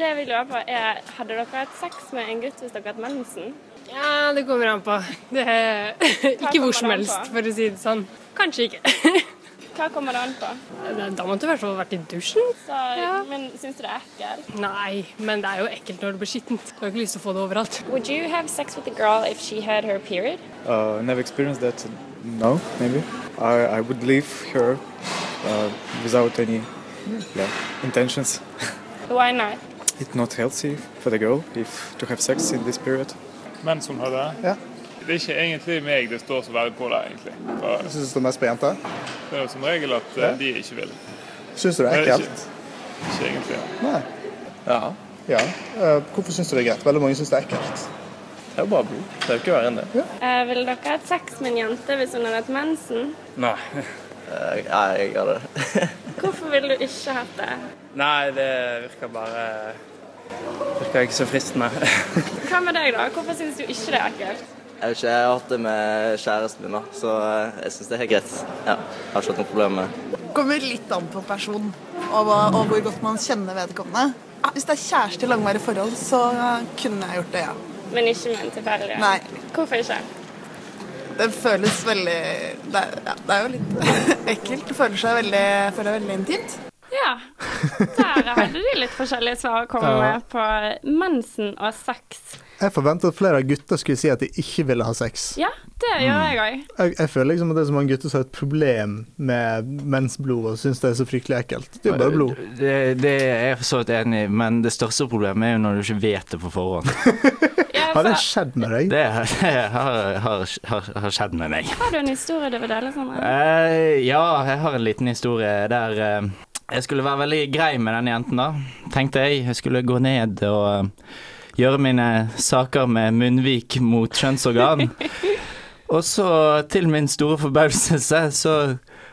Speaker 1: Det vi lurer på er, hadde dere hatt sex med en gutt hvis dere hadde mensen?
Speaker 5: Ja, det kommer an på. Det er ikke hvor som helst, for å si det sånn. Kanskje ikke.
Speaker 1: Hva kommer det an på?
Speaker 5: Da måtte du i hvert fall vært i dusjen.
Speaker 1: Så, Men syns du det er ekkelt?
Speaker 5: Nei, men det er jo ekkelt når det blir skittent. Du har ikke lyst til å få det overalt.
Speaker 1: Would you have sex with a girl if she had her period?
Speaker 6: Uh, never experienced that. No, maybe. I, I would leave her uh, without any yeah, intentions.
Speaker 1: Why not?
Speaker 6: It's not healthy for the girl if to have sex in this period.
Speaker 7: Menn som har det?
Speaker 2: Ja.
Speaker 7: Det er ikke egentlig meg det står så veldig på der, egentlig. For
Speaker 2: Syns du det står mest på jenter?
Speaker 7: det er jo som regel at eh, de ikke vil.
Speaker 2: Syns du det er
Speaker 7: Eller
Speaker 2: ekkelt?
Speaker 7: ikke, ikke egentlig. ja.
Speaker 2: Nei.
Speaker 8: Ja.
Speaker 2: Ja. Eh, hvorfor syns du det er greit? Veldig mange syns det er ekkelt.
Speaker 8: Det er jo bare blod. Det er jo ikke verre enn det.
Speaker 1: Eh, ville dere hatt sex med en jente hvis hun hadde hatt mensen? Eh,
Speaker 8: Nei. Nei, jeg gjør det.
Speaker 1: Hvorfor ville du ikke hatt det?
Speaker 8: Nei, det virker bare Virker ikke så fristende.
Speaker 1: Hva med deg, da? Hvorfor syns du ikke det er ekkelt?
Speaker 9: Jeg vet ikke, jeg har hatt det med kjæresten min, da, så eh, jeg syns det er helt greit. Ja, jeg har ikke hatt noe problem med det.
Speaker 10: kommer litt an på personen og, hva, og hvor godt man kjenner vedkommende. Ja, Hvis det er kjæreste i langvarige forhold, så eh, kunne jeg gjort det, ja.
Speaker 1: Men ikke med en tilfeldig?
Speaker 10: Nei.
Speaker 1: Hvorfor ikke?
Speaker 10: Det føles veldig Det er, ja, det er jo litt ekkelt. Det føler seg veldig, føler det veldig intimt.
Speaker 1: Ja. Der hadde de litt forskjellige svar å komme med på mensen og sex.
Speaker 2: Jeg forventer at flere av gutta skulle si at de ikke ville ha sex.
Speaker 1: Ja, det gjør
Speaker 2: Mm.
Speaker 1: jeg òg.
Speaker 2: Jeg, jeg føler liksom at det er så mange gutter som har et problem med mensblod og syns det er så fryktelig ekkelt. Det er jo bare blod.
Speaker 3: Det, det er jeg for så vidt enig i, men det største problemet er jo når du ikke vet det på forhånd.
Speaker 1: Ja,
Speaker 2: Har det
Speaker 1: for-
Speaker 2: skjedd med deg?
Speaker 3: Det, det har, har, har, har skjedd med meg.
Speaker 1: har du en historie du vil dele, Sondre?
Speaker 3: Eh, ja, jeg har en liten historie der eh, jeg skulle være veldig grei med den jenten, da. Tenkte jeg. Jeg skulle gå ned og eh, gjøre mine saker med munnvik mot kjønnsorgan. og så, til min store forbauselse, så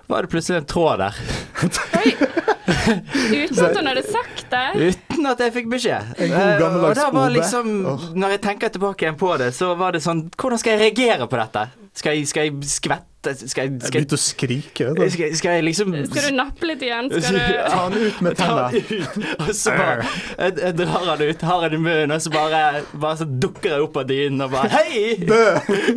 Speaker 3: var det plutselig en tråd der.
Speaker 1: Uten at hun hadde sagt det?
Speaker 3: Uten at jeg fikk beskjed.
Speaker 2: En god gammeldags
Speaker 3: Eh, og da var
Speaker 2: OB.
Speaker 3: liksom,
Speaker 2: Åh.
Speaker 3: Når jeg tenker tilbake igjen på det, så var det sånn Hvordan skal jeg reagere på dette? Skal jeg, skal jeg skvette? Skal jeg,
Speaker 2: Jeg
Speaker 3: skal jeg,
Speaker 2: begynte å skrike.
Speaker 3: skal
Speaker 2: vet du.
Speaker 3: jeg, skal jeg liksom
Speaker 1: Skal du nappe litt igjen? Skal du
Speaker 2: Ta han ut med
Speaker 3: Ta
Speaker 2: tenna.
Speaker 3: han ut, og så bare jeg, jeg drar han ut, har han i munnen, og så bare, bare så dukker jeg opp av dynen og bare Hei!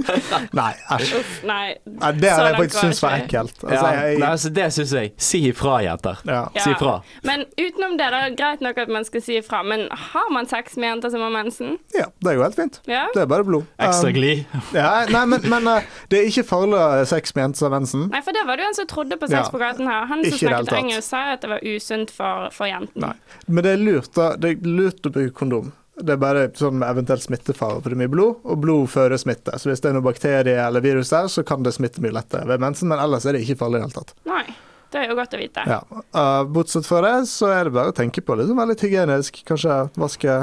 Speaker 2: Nei, æsj.
Speaker 1: Uff, nei.
Speaker 2: Nei, Det
Speaker 1: Så
Speaker 2: hadde
Speaker 1: langt
Speaker 2: jeg faktisk
Speaker 1: var det
Speaker 2: syntes var
Speaker 1: ikke.
Speaker 2: ekkelt. Altså,
Speaker 3: Ja, nei,
Speaker 2: jeg,
Speaker 3: altså, det syns jeg. Si ifra, jenter.
Speaker 2: ja.
Speaker 1: Ja.
Speaker 3: Si ifra.
Speaker 1: Men utenom det, da, greit nok at man skal si ifra, men har man sex med jenter som har mensen?
Speaker 2: ja, det går helt fint.
Speaker 1: Ja.
Speaker 2: Det er bare blod.
Speaker 3: Ekstra
Speaker 2: Um,
Speaker 3: glid.
Speaker 2: ja, nei, men, men eh, det er ikke farlig å ha sex med jenter som har mensen.
Speaker 1: Nei, for det var det jo en som trodde på sex
Speaker 2: Ja.
Speaker 1: på gaten her. Han
Speaker 2: Ikke
Speaker 1: som
Speaker 2: i det hele
Speaker 1: snakket
Speaker 2: tatt.
Speaker 1: engelsk, sa jo at det var usunt for, for jenten.
Speaker 2: Nei. Men det er lurt, da. Det er lurt å bruke kondom. Det er bare sånn eventuell smittefare, for det er mye blod, og blod fører smitte. Så hvis det er noen bakterie eller virus der, så kan det smitte mye lettere ved mensen, men ellers er det ikke farlig i det hele tatt.
Speaker 1: Nei. Det er jo godt å vite.
Speaker 2: Ja. Uh, bortsett fra det, så er det bare å tenke på det som er litt hygienisk. Kanskje vaske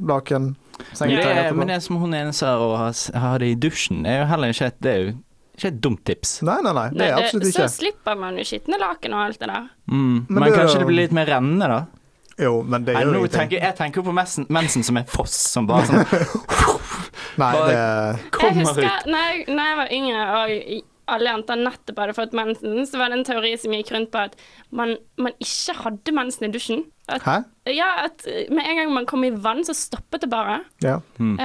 Speaker 2: laken, sengetøy
Speaker 3: Det,
Speaker 2: etterpå.
Speaker 3: men det som hun ene sa, å ha, ha det i dusjen, er jo heller ikke et, det er jo ikke et dumt tips.
Speaker 2: Nei, nei, nei, det
Speaker 1: Nei,
Speaker 2: er
Speaker 1: det-
Speaker 2: absolutt
Speaker 1: Eh, så
Speaker 2: ikke.
Speaker 1: slipper man jo skitne laken og alt det der.
Speaker 3: Mm. Men,
Speaker 2: det er
Speaker 3: kanskje
Speaker 2: jo-
Speaker 3: det blir litt mer rennende, da?
Speaker 2: Jo, men det
Speaker 3: Nei,
Speaker 2: gjør jo
Speaker 3: nå
Speaker 2: ingenting.
Speaker 3: tenker, jeg tenker jo på mensen, mensen som en foss, som bare sånn
Speaker 2: Nei, det
Speaker 1: Jeg
Speaker 3: kommer ut.
Speaker 1: husker når jeg, når jeg var yngre og i- alle jenter nettopp hadde fått mensen, så var det en teori som gikk rundt på at man, man ikke hadde mensen i dusjen. At,
Speaker 2: Hæ?
Speaker 1: ja, at med en gang man kom i vann, så stoppet det bare.
Speaker 2: Ja.
Speaker 1: Um,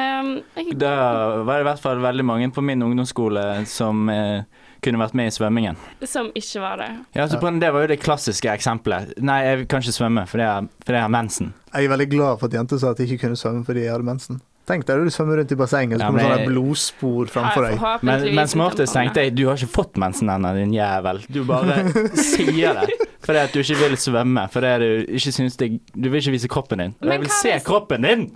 Speaker 1: jeg,
Speaker 3: Da var det i hvert fall veldig mange på min ungdomsskole som eh, kunne vært med i svømmingen.
Speaker 1: som ikke var det.
Speaker 3: Ja, så på den, Det var jo det klassiske eksempelet. Nei, jeg kan ikke svømme fordi jeg, fordi jeg har mensen.
Speaker 2: Jeg er veldig glad for at jenter sa at de ikke kunne svømme fordi de hadde mensen. Tenk deg du svømmer rundt i bassenget,
Speaker 3: Ja,
Speaker 2: så kommer
Speaker 3: men
Speaker 2: sånne
Speaker 3: jeg-
Speaker 2: blodspor framfor deg.
Speaker 3: Men, men som oftest tenkte jeg du har ikke fått mensen ennå, din jævel. Du bare sier det fordi at du ikke vil svømme. Fordi du ikke syns det Du vil ikke vise kroppen din. Og
Speaker 1: Men
Speaker 3: jeg vil
Speaker 1: hva
Speaker 3: se
Speaker 1: hvis-
Speaker 3: kroppen din!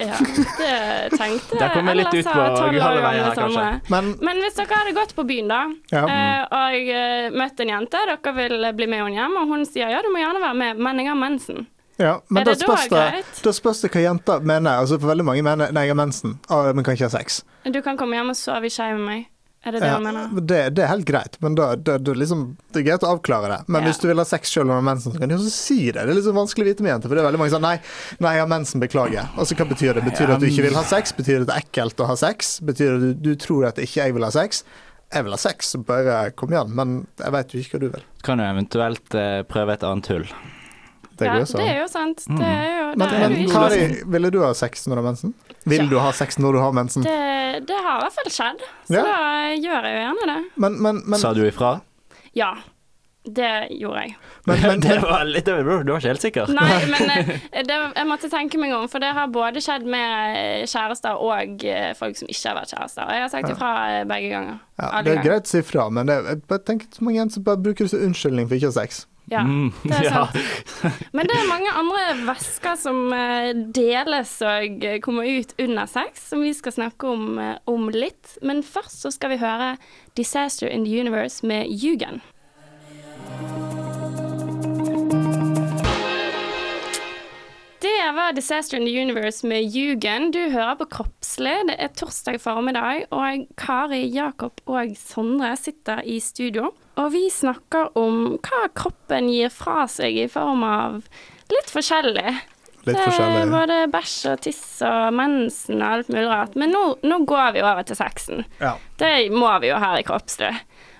Speaker 1: Ja, det tenkte
Speaker 3: Der kom jeg litt
Speaker 1: ellers
Speaker 3: ut på
Speaker 1: av 12 år
Speaker 3: gale
Speaker 1: gamle
Speaker 3: veier her, kanskje.
Speaker 1: Sondre.
Speaker 2: Men
Speaker 1: Men hvis dere hadde gått på byen da,
Speaker 2: Ja.
Speaker 1: eh, og eh, møtt en jente, dere vil bli med henne hjem, og hun sier ja, du må gjerne være med, men jeg har mensen.
Speaker 2: Ja, men
Speaker 1: Er
Speaker 2: da
Speaker 1: det da
Speaker 2: spørs det,
Speaker 1: greit?
Speaker 2: da spørs det hva jenter mener. Altså For veldig mange mener nei, jeg har mensen, ah, men kan ikke ha sex.
Speaker 1: Du kan komme hjem og sove i skje med meg. Er det det
Speaker 2: Ja,
Speaker 1: hun mener?
Speaker 2: det, det er helt greit, men da, da, da liksom, det er greit å avklare det. Men
Speaker 1: Ja.
Speaker 2: hvis du vil ha sex selv om du har mensen, så kan du også si det. Det er liksom vanskelig å vite med jenter, for det er veldig mange som sier nei, nei, jeg har mensen, beklager. Altså hva betyr det? Betyr det at du ikke vil ha sex? Betyr det at det er ekkelt å ha sex? Betyr det at du, du tror at ikke jeg vil ha sex? Jeg vil ha sex, så bare kom igjen. Men jeg veit jo ikke hva du vil.
Speaker 3: Kan jo eventuelt eh, prøve et annet hull.
Speaker 2: Det går
Speaker 1: ja,
Speaker 2: jo så.
Speaker 1: det er jo sant. Det er jo
Speaker 2: Men,
Speaker 1: det, er
Speaker 2: men
Speaker 1: jo ikke.
Speaker 2: Kari, ville du ha sex når du har mensen? Vil du ha sex når du har mensen?
Speaker 1: Det, det har i hvert fall skjedd, så
Speaker 2: Ja.
Speaker 1: da gjør jeg jo gjerne det.
Speaker 2: Men, men, men
Speaker 3: Sa du ifra?
Speaker 1: Ja. Det gjorde jeg.
Speaker 3: det var litt det var- Du var ikke helt sikker?
Speaker 1: Nei, men eh, det, jeg måtte tenke meg om, for det har både skjedd med eh, kjærester og eh, folk som ikke har vært kjærester. Og jeg har sagt
Speaker 2: Ja.
Speaker 1: ifra eh, begge ganger.
Speaker 2: Ja,
Speaker 1: Alle
Speaker 2: det er
Speaker 1: ganger.
Speaker 2: greit å si fra, men det, jeg bare tenker så mange jenter som bare bruker det som unnskyldning for ikke å ha sex.
Speaker 1: Ja,
Speaker 3: Mm,
Speaker 1: det er
Speaker 3: ja.
Speaker 1: sant. Men det er mange andre væsker som eh, deles og eh, kommer ut under sex, som vi skal snakke om, eh, om litt. Men først så skal vi høre 'Disaster in the Universe' med Jugend. Det var 'Disaster in the Universe' med Jugend. Du hører på Kroppslig. Det er torsdag formiddag, og Kari, Jakob og Sondre sitter i studio. Og vi snakker om hva kroppen gir fra seg i form av litt forskjellig. Det
Speaker 2: Litt
Speaker 1: er
Speaker 2: forskjellig.
Speaker 1: Både bæsj og tiss og mensen og alt mulig rart. Men nå, nå går vi over til sexen.
Speaker 2: Ja.
Speaker 1: Det må vi jo her i Kroppslig.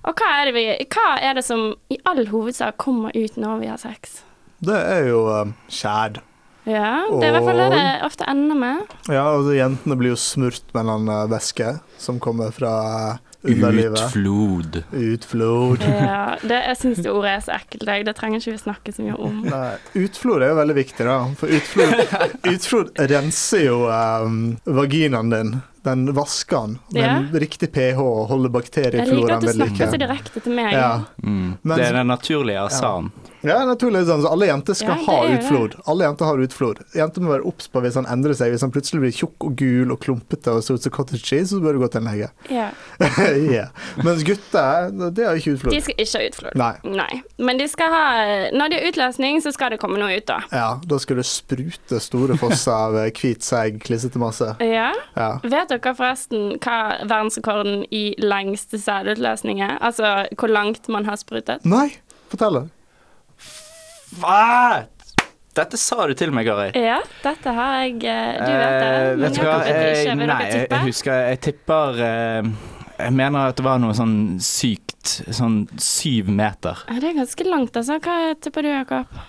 Speaker 1: Og hva er, det vi, hva er det som i all hovedsak kommer ut når vi har sex?
Speaker 2: Det er jo eh, skjær.
Speaker 1: Ja, det er i hvert fall det det
Speaker 2: Og-
Speaker 1: ofte ender med.
Speaker 2: Ja, altså jentene blir jo smurt med en eller annen uh, væske som kommer fra uh, underlivet.
Speaker 3: Utflod.
Speaker 2: Utflod.
Speaker 1: Ja, det, jeg syns det ordet er så ekkelt, jeg. Det trenger ikke vi snakke så mye om.
Speaker 2: Nei, utflod er jo veldig viktig, da. For utflod, utflod renser jo eh, vaginaen din. Den vasker den med en riktig pH og holder
Speaker 1: Jeg liker
Speaker 2: bakteriefloraen
Speaker 1: at du
Speaker 2: ved like.
Speaker 1: snakker så direkte til meg.
Speaker 2: Ja.
Speaker 3: Mm.
Speaker 2: Men-
Speaker 3: det er den naturlige asan.
Speaker 2: Ja, naturligvis. Altså, alle jenter
Speaker 1: Ja,
Speaker 2: skal
Speaker 1: det
Speaker 2: ha
Speaker 1: er jo
Speaker 2: utflod. Alle jenter har utflod. Jenter må være obs på hvis han endrer seg. Hvis han plutselig blir tjukk og gul og klumpete og ser ut som cottage cheese, så bør du gå til en lege.
Speaker 1: Ja.
Speaker 2: yeah. Mens gutter, det har
Speaker 1: De
Speaker 2: ikke utflod.
Speaker 1: skal ikke ha utflod.
Speaker 2: Nei.
Speaker 1: Men de skal ha, når de har utløsning, så skal det komme noe ut, da.
Speaker 2: Ja, da skal det sprute store fosser av eh, hvit, seig, klissete masse.
Speaker 1: Ja.
Speaker 2: Ja.
Speaker 1: Vet dere forresten hva verdensrekorden i lengste sædutløsning er? Altså hvor langt man har sprutet?
Speaker 2: Nei, fortell det.
Speaker 3: Hva? Dette sa du til meg, Kari.
Speaker 1: Ja, dette har jeg eh, Du vet det.
Speaker 3: Eh,
Speaker 1: men
Speaker 3: vet du hva?
Speaker 1: Jakob vet det
Speaker 3: Eh,
Speaker 1: ikke. Vil
Speaker 3: Nei,
Speaker 1: dere
Speaker 3: jeg,
Speaker 1: tippe?
Speaker 3: jeg husker Jeg tipper eh, Jeg mener at det var noe sånn sykt Sånn syv meter.
Speaker 1: Ja, Det er ganske langt, altså. Hva tipper du, Jakob?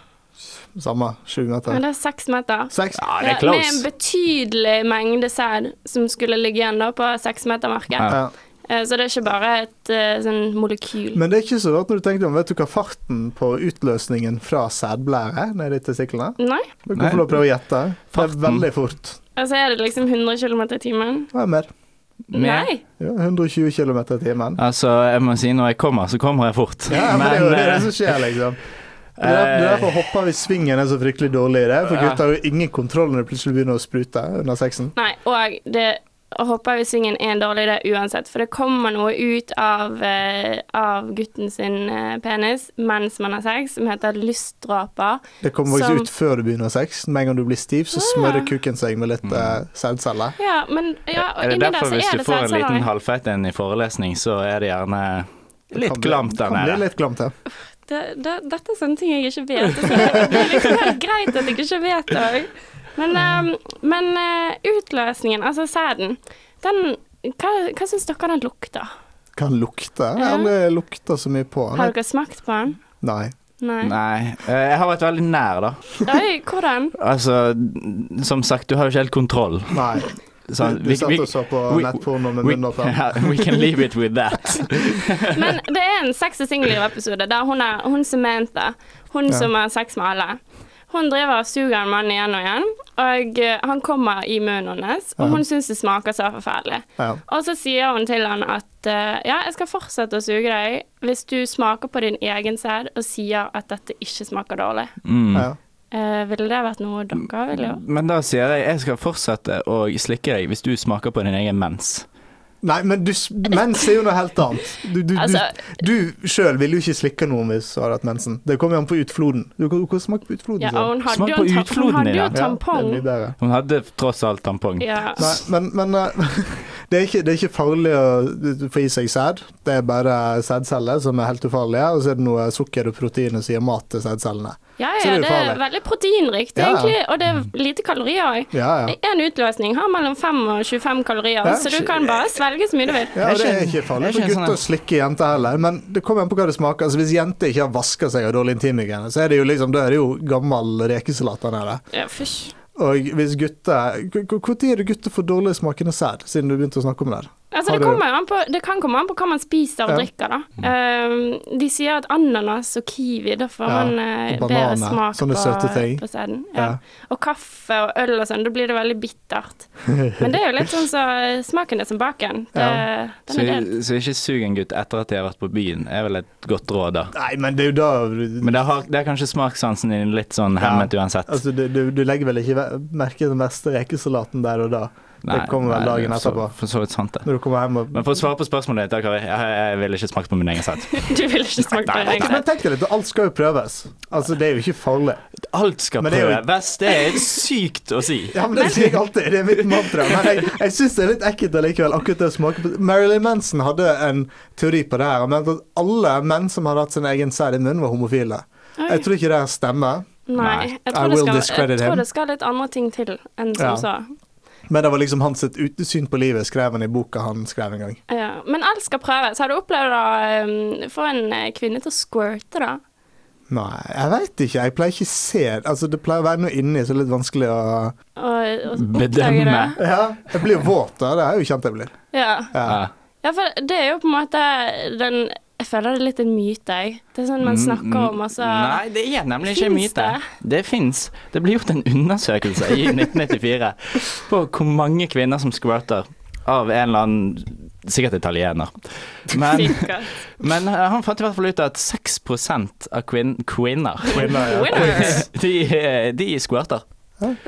Speaker 2: Samme. Sju
Speaker 1: Men
Speaker 2: meter.
Speaker 1: det er seks meter.
Speaker 2: Seks.
Speaker 3: Ja, det er
Speaker 1: Ja, med en
Speaker 3: close.
Speaker 1: betydelig mengde sæd som skulle ligge igjen da på seksmetermerket.
Speaker 3: Ja.
Speaker 2: Ja.
Speaker 1: Eh, Så det er ikke bare et eh, sånn molekyl.
Speaker 2: Men det er ikke så rart når du tenker deg om. Vet du hva farten på utløsningen fra sædblære nede i testiklene?
Speaker 1: Nei,
Speaker 2: Du kan
Speaker 3: Nei.
Speaker 2: få lov å prøve å gjette. Det er
Speaker 3: Farten.
Speaker 2: veldig fort.
Speaker 1: altså er det liksom 100 km i timen?
Speaker 2: Det er mer.
Speaker 3: Mer?
Speaker 1: Nei.
Speaker 2: Ja, 120 km i timen.
Speaker 3: Altså, jeg må si når jeg kommer, så kommer jeg fort.
Speaker 2: Ja, men, det er jo det, er det
Speaker 3: eh,
Speaker 2: som skjer, liksom. Det er, det er derfor hopper vi svingen er så fryktelig dårlig i det, for
Speaker 3: Ja.
Speaker 2: gutter har jo ingen kontroll når det plutselig begynner å sprute under sexen.
Speaker 1: Nei, og det å hoppe av i svingen er en dårlig idé uansett, for det kommer noe ut av, eh, av gutten sin eh, penis mens man har sex, som heter lystdråper.
Speaker 2: Det kommer faktisk
Speaker 1: Som-
Speaker 2: ut før du begynner sex. Med en gang du blir stiv, så smører kukken seg med litt eh,
Speaker 3: Mm.
Speaker 2: sædceller.
Speaker 1: Ja, men ja, og
Speaker 3: Er det
Speaker 1: inni der
Speaker 3: derfor
Speaker 1: så
Speaker 3: hvis
Speaker 1: er
Speaker 3: du
Speaker 1: det sånn
Speaker 3: får en liten
Speaker 1: sædceller.
Speaker 3: halvfeit en i forelesning, så er det gjerne
Speaker 2: Kan
Speaker 3: litt
Speaker 2: bli-
Speaker 3: glamt der
Speaker 2: Kan bli
Speaker 3: nede?
Speaker 2: litt glamt, ja.
Speaker 1: Det- det- Dette er sånne ting jeg ikke vet. Det er liksom helt greit at jeg ikke vet det òg. Men, eh, men eh, utløsningen, altså sæden, den Hva, hva syns dere den lukter?
Speaker 2: Kan lukte. Jeg
Speaker 1: Ja.
Speaker 2: har aldri lukta så mye
Speaker 1: Har
Speaker 2: på den.
Speaker 1: dere smakt på den?
Speaker 2: Nei.
Speaker 1: Nei.
Speaker 3: Nei. Eh, Jeg har vært veldig nær, da.
Speaker 1: Oi, hvordan?
Speaker 3: Altså, som sagt, du har jo ikke helt kontroll.
Speaker 2: Nei. Du,
Speaker 3: Så
Speaker 2: du
Speaker 3: vi-
Speaker 2: satt
Speaker 3: vi-
Speaker 2: og så på
Speaker 3: we-
Speaker 2: nettporno med
Speaker 3: we-
Speaker 2: munnen oppe.
Speaker 3: Ja, we can leave it with that.
Speaker 1: Men det er en sex og singelliv-episode der hun, er, hun Samantha, hun som har sex med alle, hun driver og suger en mann igjen og igjen, og eh, han kommer i munnen hennes, og hun syns det smaker så forferdelig.
Speaker 2: Ja.
Speaker 1: Og så sier hun til han at eh, ja, jeg skal fortsette å suge deg hvis du smaker på din egen sæd og sier at dette ikke smaker dårlig.
Speaker 3: Mm.
Speaker 2: Ja.
Speaker 1: Eh, ville det vært noe
Speaker 2: Mm.
Speaker 1: dere ville gjort?
Speaker 3: Men da sier jeg jeg skal fortsette å slikke deg hvis du smaker på din egen mens.
Speaker 2: Nei, men du, s- mens er jo noe helt annet. Du, du,
Speaker 1: Altså-
Speaker 2: du, du sjøl ville jo ikke slikka noen hvis du hadde hatt mensen. Det kommer jo an på utfloden. Du kan kan smake Liksom, på utfloden.
Speaker 1: Ja,
Speaker 2: så.
Speaker 1: og hun hadde
Speaker 3: Smak
Speaker 1: jo
Speaker 3: på
Speaker 1: en ta-
Speaker 3: utfloden
Speaker 1: hun hadde jo
Speaker 3: i det.
Speaker 2: Ja, det
Speaker 1: tampong.
Speaker 2: blir bedre.
Speaker 3: Hun hadde tross alt tampong.
Speaker 1: Ja.
Speaker 2: Nei, men, men eh, det, er ikke, det er ikke farlig å få i seg sæd. Det er bare sædceller som er helt ufarlige, og så er det noe sukker og proteiner som gir mat til sædcellene.
Speaker 1: Ja,
Speaker 2: Så
Speaker 1: ja,
Speaker 2: det er
Speaker 1: det er
Speaker 2: ufarlig.
Speaker 1: veldig proteinrikt,
Speaker 2: Ja.
Speaker 1: egentlig. Og det er lite kalorier òg.
Speaker 2: Ja, ja.
Speaker 1: En utløsning har mellom 5 og 25 kalorier,
Speaker 2: Ja.
Speaker 1: så du kan bare svelge så mye du vil.
Speaker 2: Ja, og det er
Speaker 3: Jeg
Speaker 2: ikke
Speaker 3: skjønner-
Speaker 2: farlig
Speaker 3: jeg
Speaker 2: for
Speaker 3: skjønner
Speaker 2: gutter å
Speaker 3: sånn
Speaker 2: slikke jenter heller, men det kommer an på hva det smaker. Altså, hvis jenter ikke har vaska seg og dårlig intimhygiene, så er det jo liksom, da er det jo gammel rekesalat der nede.
Speaker 1: Ja, fysj.
Speaker 2: Og hvis gutter Når er det gutter får dårlig smakende sæd, siden du begynte å snakke om det? her?
Speaker 1: Altså,
Speaker 2: Har
Speaker 1: det,
Speaker 2: du-
Speaker 1: kommer an på, det kan komme an på hva man spiser og
Speaker 2: Ja. Mm.
Speaker 1: drikker, da. Ehm, de sier at ananas og kiwi, da får
Speaker 2: Ja,
Speaker 1: man eh,
Speaker 2: og
Speaker 1: bedre
Speaker 2: bananer,
Speaker 1: smak
Speaker 2: sånne
Speaker 1: på,
Speaker 2: søte ting.
Speaker 1: på sæden. Ja.
Speaker 2: Ja.
Speaker 1: Og kaffe og øl og sånn, da blir det veldig bittert. Men det er jo litt sånn så smaken er som baken. Det,
Speaker 3: Ja.
Speaker 1: Den
Speaker 3: Så,
Speaker 1: er delt.
Speaker 3: så ikke sug en gutt etter at de har vært på byen, er vel et godt råd, da.
Speaker 2: Nei, men det er jo da
Speaker 3: Men det har, det er kanskje smakssansen din litt sånn hemmet uansett.
Speaker 2: Altså, du, du, du legger vel ikke ve- merke til den beste rekesalaten der og da. det kommer vel dagen
Speaker 3: er for-
Speaker 2: etterpå.
Speaker 3: For så vidt sant, det.
Speaker 2: Når du kommer hjem og
Speaker 3: Men for å svare på spørsmålet ditt, da, Kari. Jeg, jeg vil ikke smake på min egen sett.
Speaker 1: Du vil ikke smake på det
Speaker 2: Nei, Men
Speaker 1: egentlig.
Speaker 2: tenk deg litt, alt skal jo prøves. Altså, det er jo ikke farlig.
Speaker 3: Alt skal
Speaker 2: Men det er jo-
Speaker 3: prøves, det er sykt å si.
Speaker 2: Ja, men det sier jeg alltid. Det er mitt mantra. Men jeg, jeg syns det er litt ekkelt allikevel. Akkurat det å smake på Marilyn Manson hadde en teori på det her. Han mente at alle menn som hadde hatt sin egen sæd i munnen, var homofile.
Speaker 1: Oi.
Speaker 2: Jeg tror ikke det stemmer.
Speaker 1: Nei,
Speaker 3: Nei.
Speaker 1: jeg
Speaker 2: I
Speaker 1: tror,
Speaker 2: will
Speaker 1: det skal,
Speaker 2: discredit
Speaker 1: jeg tror
Speaker 2: him.
Speaker 1: det skal litt andre ting til enn
Speaker 2: Ja.
Speaker 1: som så.
Speaker 2: Men det var liksom hans sitt utesyn på livet, skrev han i boka han skrev en gang.
Speaker 1: Ja. Men alt skal prøves. Har du opplevd å um, få en eh, kvinne til å squirte, da?
Speaker 2: Nei, jeg veit ikke. Jeg pleier ikke å se Altså, det pleier å være noe inni, så det er litt vanskelig å
Speaker 1: Og, og oppdage det?
Speaker 3: Bedømme.
Speaker 2: Ja, jeg blir jo våt da. Det er jo kjent jeg blir.
Speaker 1: Ja.
Speaker 2: Ja.
Speaker 3: Ja.
Speaker 1: Ja, for det er jo på en måte den Jeg føler det er litt en myte, jeg. Det er sånn man snakker om, og så
Speaker 3: Mm, Nei, det er nemlig ikke en
Speaker 1: Finnes
Speaker 3: myte. Det, fins. Det ble gjort en undersøkelse i 1994 på hvor mange kvinner som squirter av en eller annen Sikkert italiener. Men,
Speaker 1: Sikkert.
Speaker 3: men eh, han fant i hvert fall ut at 6 av kvin kvinner
Speaker 1: Winner!
Speaker 3: de, eh, de squirter.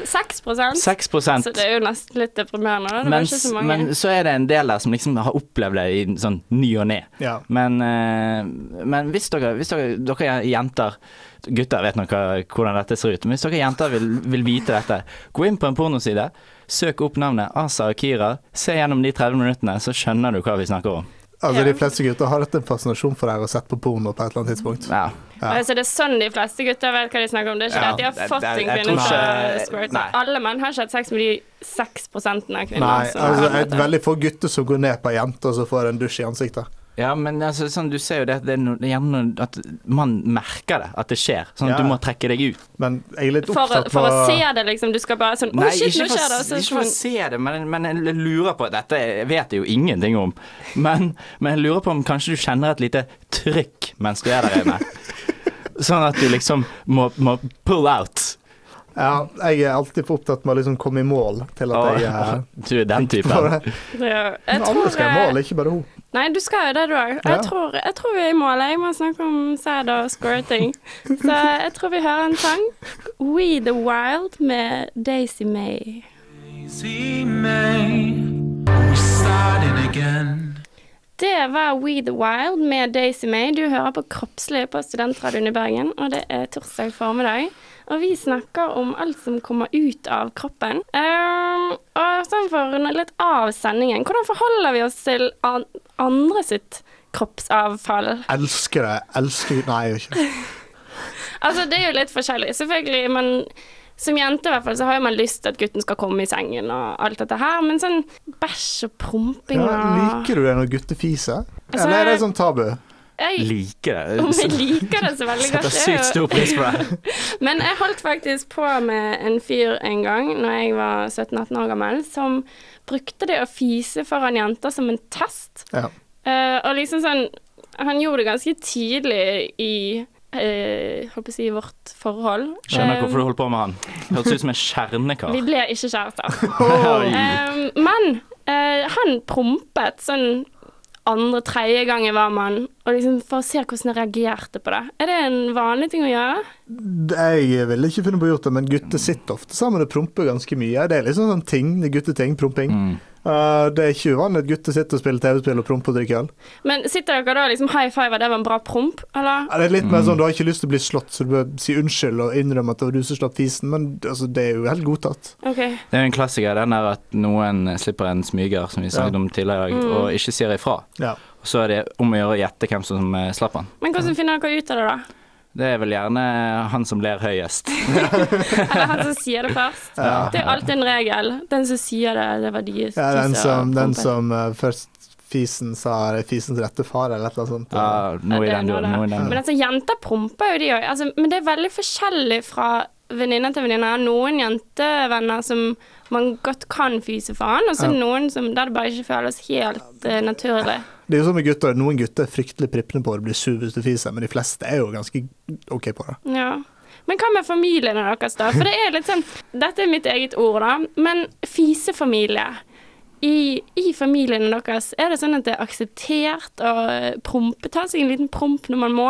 Speaker 1: 6
Speaker 3: 6
Speaker 1: Så Altså, det er jo nesten litt deprimerende. da. Det var
Speaker 3: mens,
Speaker 1: ikke så mange.
Speaker 3: men så er det en del der som liksom har opplevd det i sånn ny og ne.
Speaker 2: Ja.
Speaker 3: Men, eh, men hvis, dere, hvis dere, dere jenter Gutter vet nå hva- hvordan dette ser ut. Men hvis dere jenter vil, vil vite dette, gå inn på en pornoside. Søk opp navnet Asa Akira. Se gjennom de 30 minuttene, så skjønner du hva vi snakker om.
Speaker 2: Altså,
Speaker 1: Ja.
Speaker 2: de fleste gutter har hatt en fascinasjon for det her og sett på porno på et eller annet tidspunkt.
Speaker 3: Ja.
Speaker 2: Ja.
Speaker 1: Altså, det er sånn de fleste gutter vet hva de snakker om. Det er ikke
Speaker 3: Ja.
Speaker 1: det at de
Speaker 3: Det-
Speaker 1: har fått en
Speaker 3: det- jeg
Speaker 1: kvinne
Speaker 3: tror
Speaker 1: til å
Speaker 3: ikke-
Speaker 1: squirte.
Speaker 3: nei.
Speaker 1: Alle menn har ikke hatt sex med de 6 av kvinner.
Speaker 2: Nei,
Speaker 1: som
Speaker 2: altså,
Speaker 1: har
Speaker 2: jeg
Speaker 1: dette.
Speaker 2: er veldig få gutter som går ned på ei jente og så får en dusj i ansiktet.
Speaker 3: ja, men altså, sånn, du ser jo det, at det er no, det er gjerne noe- at man merker det, at det skjer. Sånn
Speaker 2: Ja.
Speaker 3: at du må trekke deg ut.
Speaker 2: Men jeg er litt
Speaker 1: For, å-
Speaker 2: opptatt på
Speaker 1: for å se det, liksom. Du skal bare sånn Å, shit, nå
Speaker 3: for,
Speaker 1: skjer det! Og
Speaker 3: å-
Speaker 1: så
Speaker 3: ikke altså, for å
Speaker 1: sånn
Speaker 3: se det, men, men jeg lurer på Dette vet jeg jo ingenting om, men, men jeg lurer på om kanskje du kjenner et lite trykk mens du er der inne. Sånn at du liksom må, må pull out.
Speaker 2: Ja, jeg er alltid for opptatt med å liksom komme i mål til at
Speaker 3: Og,
Speaker 2: jeg eh,
Speaker 3: du er den typen.
Speaker 2: bare,
Speaker 1: det er jo- sånn, Jeg
Speaker 2: Men Alle skal i
Speaker 1: eh,
Speaker 2: mål, ikke bare hun.
Speaker 1: Nei, du skal jo det, du òg.
Speaker 2: Ja.
Speaker 1: Jeg, tror- jeg tror vi er i mål. Jeg må snakke om sæd og squirting. Så jeg tror vi hører en sang. We The Wild med Daisy May. Det var We The Wild med Daisy May. Du hører på Kroppslig på Studentradioen i Bergen, og det er torsdag formiddag. Og vi snakker om alt som kommer ut av kroppen. Ehm, og sånn for å runde litt av sendingen, hvordan forholder vi oss til an andre sitt kroppsavfall?
Speaker 2: Elsker det. Elsker Nei, jeg gjør ikke det.
Speaker 1: Altså, det er jo litt forskjellig, selvfølgelig, men som jente i hvert fall, så har jo man lyst til at gutten skal komme i sengen og alt dette her, men sånn bæsj og promping
Speaker 2: Ja,
Speaker 1: og
Speaker 2: liker du det når gutter fiser?
Speaker 1: Altså,
Speaker 2: Eller er det sånn tabu?
Speaker 1: jeg,
Speaker 3: Liker
Speaker 1: Om jeg
Speaker 3: det.
Speaker 1: liker det så veldig godt.
Speaker 3: Setter
Speaker 1: det er jo-
Speaker 3: sykt stor pris på det.
Speaker 1: Men jeg holdt faktisk på med en fyr en gang når jeg var 17-18 år gammel, som brukte det å fise foran jenter som en test.
Speaker 2: Ja.
Speaker 1: Eh, og liksom sånn Han gjorde det ganske tidlig i eh, Holdt på å si vårt forhold.
Speaker 3: Skjønner
Speaker 1: Eh,
Speaker 3: hvorfor du holdt på med han. Hørtes ut som en
Speaker 1: Vi
Speaker 3: kjernekar.
Speaker 1: ble ikke kjærester.
Speaker 3: Oi.
Speaker 1: Eh, men eh, han prompet sånn andre-tredje gang jeg var med han, og liksom for å se hvordan jeg reagerte på det. Er det en vanlig ting å gjøre?
Speaker 2: Jeg ville ikke funnet på å gjort det, men gutter sitter ofte sammen og promper ganske mye. Det er liksom sånn ting, det er gutteting, promping. Uh, det er ikke uvanlig at gutter sitter og spiller TV-spill og promper og drikker øl.
Speaker 1: Men sitter dere da og liksom high fiver, det var en bra promp, eller?
Speaker 2: Ja, Det er litt mer sånn, Du har ikke lyst til å bli slått, så du bør si unnskyld og innrømme at det var du som slapp fisen, men altså, det er jo helt godtatt.
Speaker 1: OK.
Speaker 3: Det er jo en klassiker, den der at noen slipper en smyger, som vi snakket om tidligere i dag,
Speaker 1: Mm.
Speaker 3: og ikke sier ifra.
Speaker 2: Ja.
Speaker 3: Og så er det om å gjøre å gjette hvem som eh, slapp han.
Speaker 1: Men hvordan finner dere ut av det, da?
Speaker 3: Det er vel gjerne han som ler høyest.
Speaker 1: Eller han som sier det først? Det er jo alltid en regel. Den som sier det, det var de
Speaker 2: Ja, den
Speaker 1: som
Speaker 2: som, den
Speaker 1: prompet.
Speaker 2: som uh, først fisen sa er fisens rette far, eller et eller annet sånt.
Speaker 3: Ja, noe i
Speaker 1: Ja, det
Speaker 3: den
Speaker 1: er noe
Speaker 3: duren.
Speaker 1: der.
Speaker 3: Noe i den
Speaker 1: Men
Speaker 3: duren.
Speaker 1: altså, jenter promper jo de òg. Altså, men det er veldig forskjellig fra venninner til venninner. Noen jentevenner som man godt kan fyse faen, og så
Speaker 2: Ja.
Speaker 1: noen som der det bare ikke føles helt eh, naturlig.
Speaker 2: Det er jo sånn med gutter, Noen gutter er fryktelig prippende på det, blir sur hvis du fiser, men de fleste er jo ganske OK på det.
Speaker 1: Ja. Men hva med familiene deres, da? For det er litt sånn Dette er mitt eget ord, da, men fisefamilie. I, I familiene deres, er det sånn at det er akseptert å prompe? Ta seg en liten promp når man må?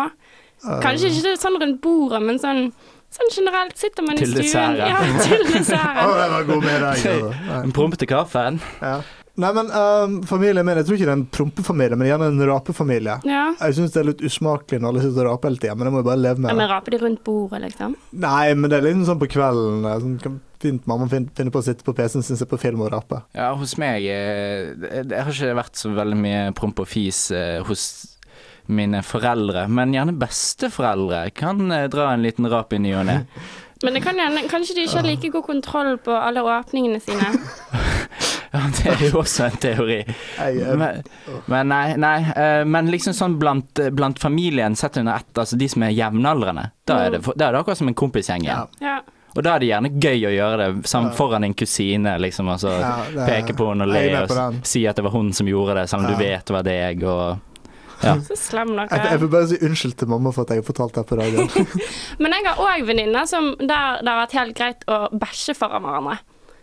Speaker 1: Kanskje ikke det er sånn rundt bordet, men sånn, sånn generelt sitter man
Speaker 3: Til
Speaker 1: i stuen.
Speaker 3: desserten.
Speaker 1: Ja, til desserten.
Speaker 2: Å, det var god middag. altså. Nei.
Speaker 3: En promp til kaffen.
Speaker 2: Ja. Nei, men ehm, familien min, jeg tror ikke det er en prompefamilie, men gjerne en rapefamilie.
Speaker 1: Ja.
Speaker 2: Jeg syns det er litt usmakelig når alle sitter og raper hele tida, men jeg må jo bare leve
Speaker 1: ja,
Speaker 2: med
Speaker 1: men
Speaker 2: det.
Speaker 1: raper de rundt bordet, liksom?
Speaker 2: Nei, men det er liksom sånn på kvelden. eh, Sånn, kan fint mamma fin- finner på å sitte på PC-en sin, se på film og rape.
Speaker 3: Ja, hos meg eh, Det det har ikke vært så veldig mye promp og fis eh, hos mine foreldre, men gjerne besteforeldre kan eh, dra en liten rap i ny og ne.
Speaker 1: Men det kan gjerne, kanskje de ikke har like god kontroll på alle åpningene sine.
Speaker 3: Ja, det er jo også en teori.
Speaker 2: Jeg, eh,
Speaker 3: Men, men nei, nei. eh, Men liksom sånn blant, blant familien sett under ett, altså de som er jevnaldrende, da er det, for- da er det akkurat som en kompisgjeng
Speaker 2: ja.
Speaker 3: igjen.
Speaker 1: Ja.
Speaker 3: Og da er det gjerne gøy å gjøre det sam- foran en kusine, liksom. Altså,
Speaker 2: Ja, det-
Speaker 3: peke på henne og
Speaker 2: jeg er
Speaker 3: le
Speaker 2: med
Speaker 3: og
Speaker 2: på
Speaker 3: s-
Speaker 2: den.
Speaker 3: si at det var hun som gjorde det, selv om
Speaker 2: Ja.
Speaker 3: du vet det var deg. Og, ja.
Speaker 1: Så slem dere
Speaker 2: Jeg,
Speaker 1: er.
Speaker 2: jeg vil bare si unnskyld til mamma for at jeg har fortalt det her på radioen.
Speaker 1: Men jeg har òg venninner som der det har vært helt greit å bæsje foran hverandre.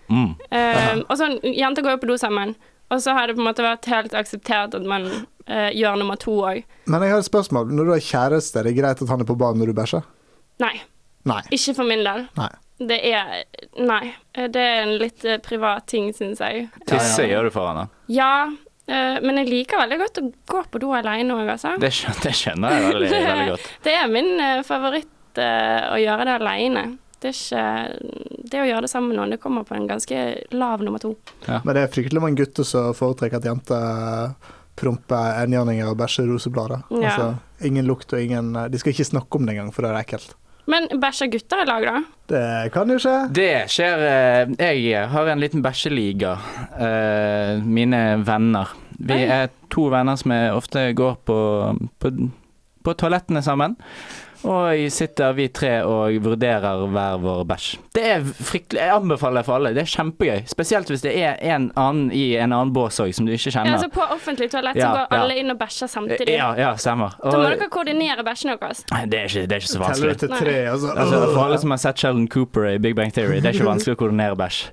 Speaker 3: Mm.
Speaker 1: Ehm, og sånn, Jenter går jo på do sammen, og så har det på en måte vært helt akseptert at man eh, gjør nummer to òg.
Speaker 2: Men jeg har et spørsmål. Når du har kjæreste, er det greit at han er på banen når du bæsjer?
Speaker 1: Nei.
Speaker 2: Nei.
Speaker 1: Ikke for min del.
Speaker 2: Nei.
Speaker 1: Det er Nei. Eh, Det er en litt eh, privat ting, syns jeg.
Speaker 3: Tisse gjør du foran henne.
Speaker 1: Ja, eh, men jeg liker veldig godt å gå på do alene òg, altså.
Speaker 3: Det skjønner, det skjønner jeg veldig,
Speaker 1: Det-
Speaker 3: veldig godt.
Speaker 1: Det er min eh, favoritt eh, å gjøre det alene. Det, er ikke, det å gjøre det sammen med noen, det kommer på en ganske lav nummer to.
Speaker 2: Men det er fryktelig mange gutter som foretrekker at jenter eh, promper enhjørninger og bæsjer roseblader.
Speaker 1: Ja.
Speaker 2: Altså, ingen lukt og ingen eh, De skal ikke snakke om det engang, for det er ekkelt.
Speaker 1: Men bæsjer gutter i lag, da?
Speaker 2: Det kan jo skje.
Speaker 3: Det skjer eh, Jeg har en liten bæsjeliga. eh, mine venner. Vi er to venner som er, ofte går på, på, på toalettene sammen. Og sitter vi tre og vurderer hver vår bæsj. Det er fryktelig Jeg anbefaler det for alle. Det er kjempegøy. Spesielt hvis det er en annen i en annen bås òg, som du ikke
Speaker 1: Ja,
Speaker 3: kjenner.
Speaker 1: altså på offentlig toalett så
Speaker 3: Ja,
Speaker 1: går
Speaker 3: ja.
Speaker 1: alle inn og bæsjer samtidig.
Speaker 3: Ja, ja, stemmer.
Speaker 1: Da må
Speaker 3: Og,
Speaker 1: dere koordinere bæsjene deres.
Speaker 3: Nei, det, er ikke, det er ikke så
Speaker 2: Teller
Speaker 3: vanskelig.
Speaker 2: du til tre, og så
Speaker 3: Altså, for alle som har sett Sheldon Cooper i Big Bang Theory, det er ikke vanskelig å koordinere bæsj.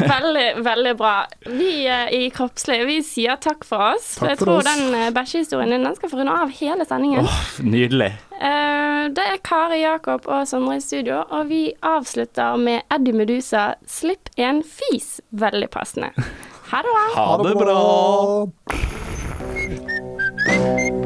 Speaker 1: Veldig, veldig bra. Vi eh, i Kroppslig vi sier takk for oss.
Speaker 2: Takk
Speaker 1: jeg
Speaker 2: for
Speaker 1: tror
Speaker 2: oss.
Speaker 1: den eh, bæsjehistorien din den skal få runde av hele sendingen.
Speaker 3: Nydelig.
Speaker 1: Eh, det er Kari Jakob og Sondre i studio, og vi avslutter med Eddie Medusa 'Slipp en fis'. Veldig passende. Ha det bra.
Speaker 3: Ha det bra.
Speaker 2: bra.